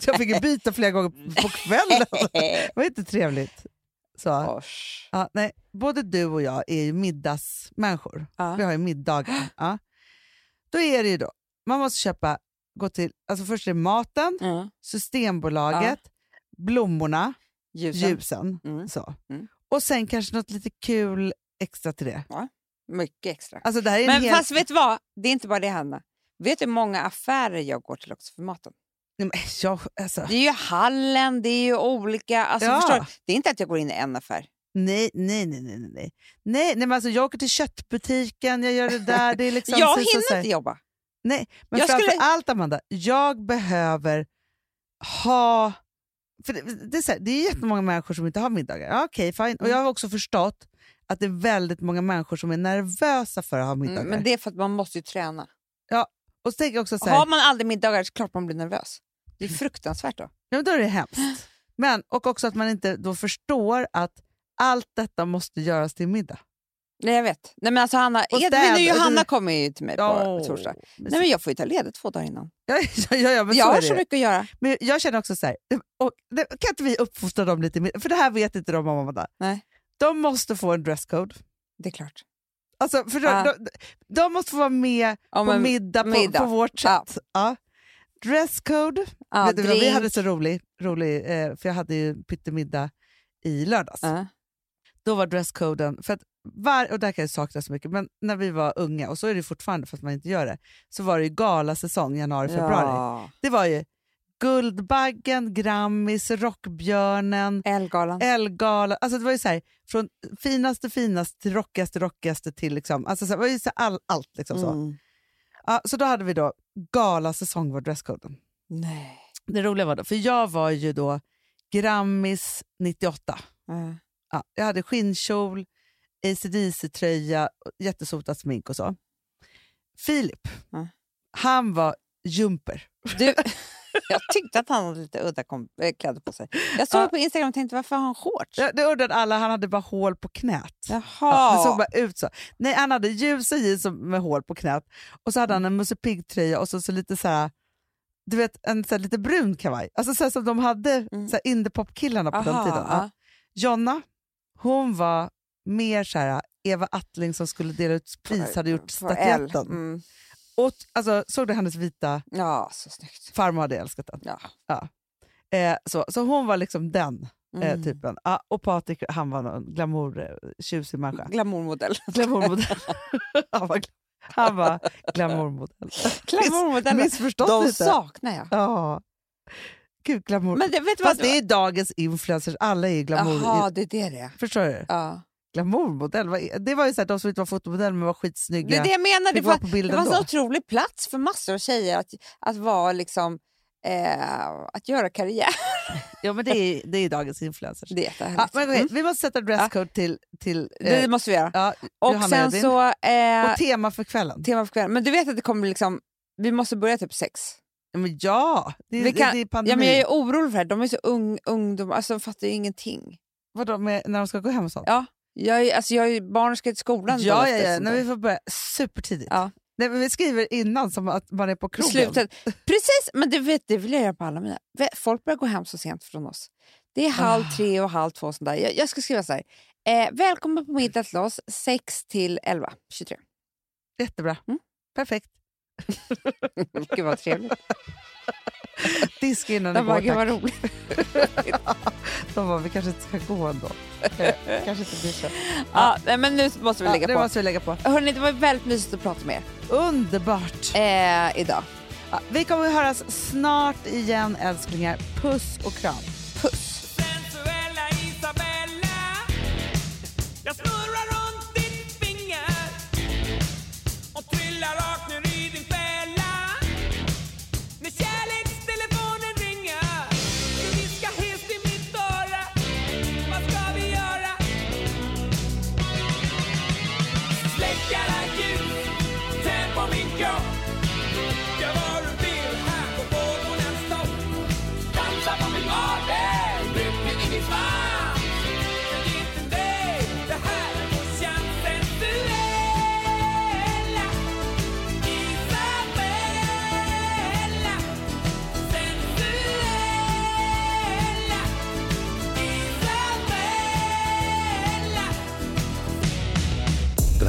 B: så jag fick ju byta flera gånger på kvällen. Det var inte trevligt. Så.
C: Osch.
B: Ja, nej, både du och jag är ju middagsmänniskor. Vi
C: Ja.
B: har ju middagar. Ja. Då är det ju då, man måste köpa, gå till, alltså först är det maten,
C: Ja.
B: Systembolaget, blommorna,
C: Ljusen.
B: ljusen.
C: Mm.
B: Så.
C: Mm.
B: Och sen kanske något lite kul extra till det.
C: Mycket extra.
B: Alltså det här är en
C: Men
B: hel...
C: fast vet du vad? Det är inte bara det Hanna. Vet du hur många affärer jag går till också för maten?
B: Nej, men jag, alltså,
C: Det är ju hallen, det är ju olika... Alltså,
B: Ja.
C: förstår du? Det är inte att jag går in i en affär.
B: nej, nej, nej, nej, nej. nej. nej nej, men alltså, jag åker till köttbutiken, jag gör det där. Det är liksom
C: jag
B: så- så- så
C: hinner
B: här.
C: inte jobba.
B: Nej, men
C: Jag
B: framför
C: skulle-
B: allt Amanda, jag behöver ha... För det, det, är så här, det är jättemånga människor som inte har middagar. Ja, Okej, fine. Och jag
C: Mm.
B: har också förstått att det är väldigt många människor som är nervösa för att ha middagar.
C: Mm, Men det är för att man måste ju träna.
B: Och så tänker jag också så här,
C: Har man aldrig middagar så klart man blir nervös. Det är fruktansvärt då.
B: ja, men då är det hemskt. Men, och också att man inte då förstår att allt detta måste göras till middag.
C: Nej, jag vet. Nej, men alltså Hanna,
B: Och
C: Edvin och
B: städ-
C: Johanna
B: du-
C: kommer ju till mig på
B: Ja,
C: torsdag.
B: mysigt.
C: Nej, men jag får ju ta ledigt två dagar innan.
B: Ja, ja, ja, men
C: jag
B: så
C: har
B: är
C: så
B: det.
C: mycket att göra.
B: Men jag känner också så här, och, det- kan inte vi uppfostra dem lite mer? För det här vet inte de om Amanda.
C: Nej.
B: De måste få en dresscode.
C: Det är klart.
B: Alltså, för de,
C: Ah.
B: de, de måste få vara med
C: Ja,
B: på
C: men-
B: middag på,
C: middag.
B: på vårt
C: Ja.
B: sätt. Ja. Dresscode.
C: ja,
B: Vet du vad, vi
C: drink.
B: hade så rolig, rolig eh, för jag hade ju pyttemiddag i lördags.
C: Ja.
B: Då var dresscoden, för att var, och det här kan jag sakna så mycket, men när vi var unga, och så är det fortfarande fast man inte gör det, så var det ju galasäsong januari, februari.
C: Ja.
B: Det var ju Guldbaggen, Grammis, Rockbjörnen,
C: Elgalan.
B: Elgala. Alltså det var ju så här, från finaste finaste till rockigaste rockigaste till liksom, alltså så här, det var ju så här all, allt. Liksom så.
C: Mm.
B: Ja, så då hade vi då galasäsong var dresscoden.
C: Nej.
B: Det roliga var då, för jag var ju då Grammis 98.
C: Ja.
B: Ja, jag hade skinnkjol, ACDC-tröja, jättesotat smink och så. Filip,
C: Ja.
B: han var jumper.
C: Du, jag tyckte att han hade lite udda kom, äh, kläder på sig. Jag såg
B: Ja.
C: på Instagram och tänkte varför har han shorts?
B: Ja, det undrade alla, han hade bara hål på knät.
C: Jaha.
B: Ja, det såg bara ut så. Nej, han hade ljusa jeans som- med hål på knät och så hade han en Musse Pigg-tröja och så, så lite så här, du vet, en så här, lite brun kavaj. Alltså så här, som de hade
C: Mm.
B: så här, indiepop-killarna på den
C: Aha,
B: tiden. Ja.
C: ja.
B: Jonna, hon var mer så här Eva Attling som skulle dela ut pris, hade gjort
C: På L.
B: statyetten.
C: Mm.
B: Och, alltså, såg du hennes vita?
C: Ja, så snyggt.
B: Farmor hade älskat den.
C: Ja.
B: Eh, så, så hon var liksom den eh,
C: Mm.
B: typen. Ja, och Patrik, han var någon glamour, eh, tjusig människa.
C: Glamourmodell.
B: Glamourmodell. han, var, gla- han var glamourmodell.
C: Glamourmodellen.
B: Missförstått
C: De
B: lite.
C: saknar jag.
B: Ja. Gud, glamour.
C: Men det, vet du
B: Fast
C: vad?
B: det är dagens influencers, alla är ju glamour.
C: Jaha, det är det det är.
B: Förstår du?
C: Ja.
B: Glamourmodell, vad är- det var ju så här, de som inte var fotomodeller men var skitsnygga.
C: Det är det jag menar. Det,
B: Fick
C: var,
B: vara på bilden
C: det fanns en
B: då.
C: otrolig plats för massor av tjejer att, att vara liksom eh, att göra karriär.
B: Ja, men det är, det är dagens influencers.
C: Det, är jättehärligt.
B: Ja, men, okej, Vi måste sätta dresscode till, till eh,
C: det måste vi göra.
B: ja,
C: Och
B: Johanna
C: sen
B: Edvin.
C: så... Eh,
B: och tema för kvällen.
C: tema för kvällen. Men du vet att det kommer liksom... Vi måste börja typ sex.
B: Ja, men ja, det,
C: Vi
B: är
C: kan-
B: det är
C: Ja,
B: pandemi.
C: men jag är orolig för det här. De är så ung, ungdomar, alltså de fattar ju ingenting.
B: Vadå, med, när de ska gå hem och sånt?
C: Ja, Jag är, alltså, jag är, barnen ska till skolan. då
B: Ja, ja,
C: efter
B: ja.
C: sånt
B: Nej,
C: där.
B: vi får börja supertidigt.
C: Ja.
B: Nej, men vi skriver innan som att man är på
C: I
B: krogen.
C: slutet. Precis, men det, vet, det vill jag göra på alla mina. Ve- Folk börjar gå hem så sent från oss. Det är halv tre och halv två. Sånt där. Jag, jag ska skriva så här. Eh, välkommen på middag till oss, 6 till 11, 23.
B: Jättebra.
C: Mm.
B: Perfekt.
C: Gud vad trevligt.
B: Disk innan ni
C: Jag
B: går,
C: bara, gud
B: tack.
C: vad roligt.
B: De bara, vi kanske inte ska gå ändå. Eh, kanske inte blir så.
C: Ja, nej, men nu måste vi
B: Ja,
C: lägga
B: det
C: på.
B: måste vi lägga på.
C: Hörrni, det var väldigt mysigt att prata med
B: Underbart!
C: er eh, idag.
B: Ja, vi kommer att höras snart igen, älsklingar. Puss och kram.
E: sensuella Isabella Jag snurrar runt ditt finger och trillar rakt ner i din fälla När kärlekstelefonen ringer du viskar helt i mitt öra Vad ska vi göra? Släck alla ljus, tänd på min kropp Gör vad du vill här på morgonens topp Dansa på min mage, ryck i min svans Men inte mig, det här är morsan sensuella Isabella Sensuella Isabella
F: Den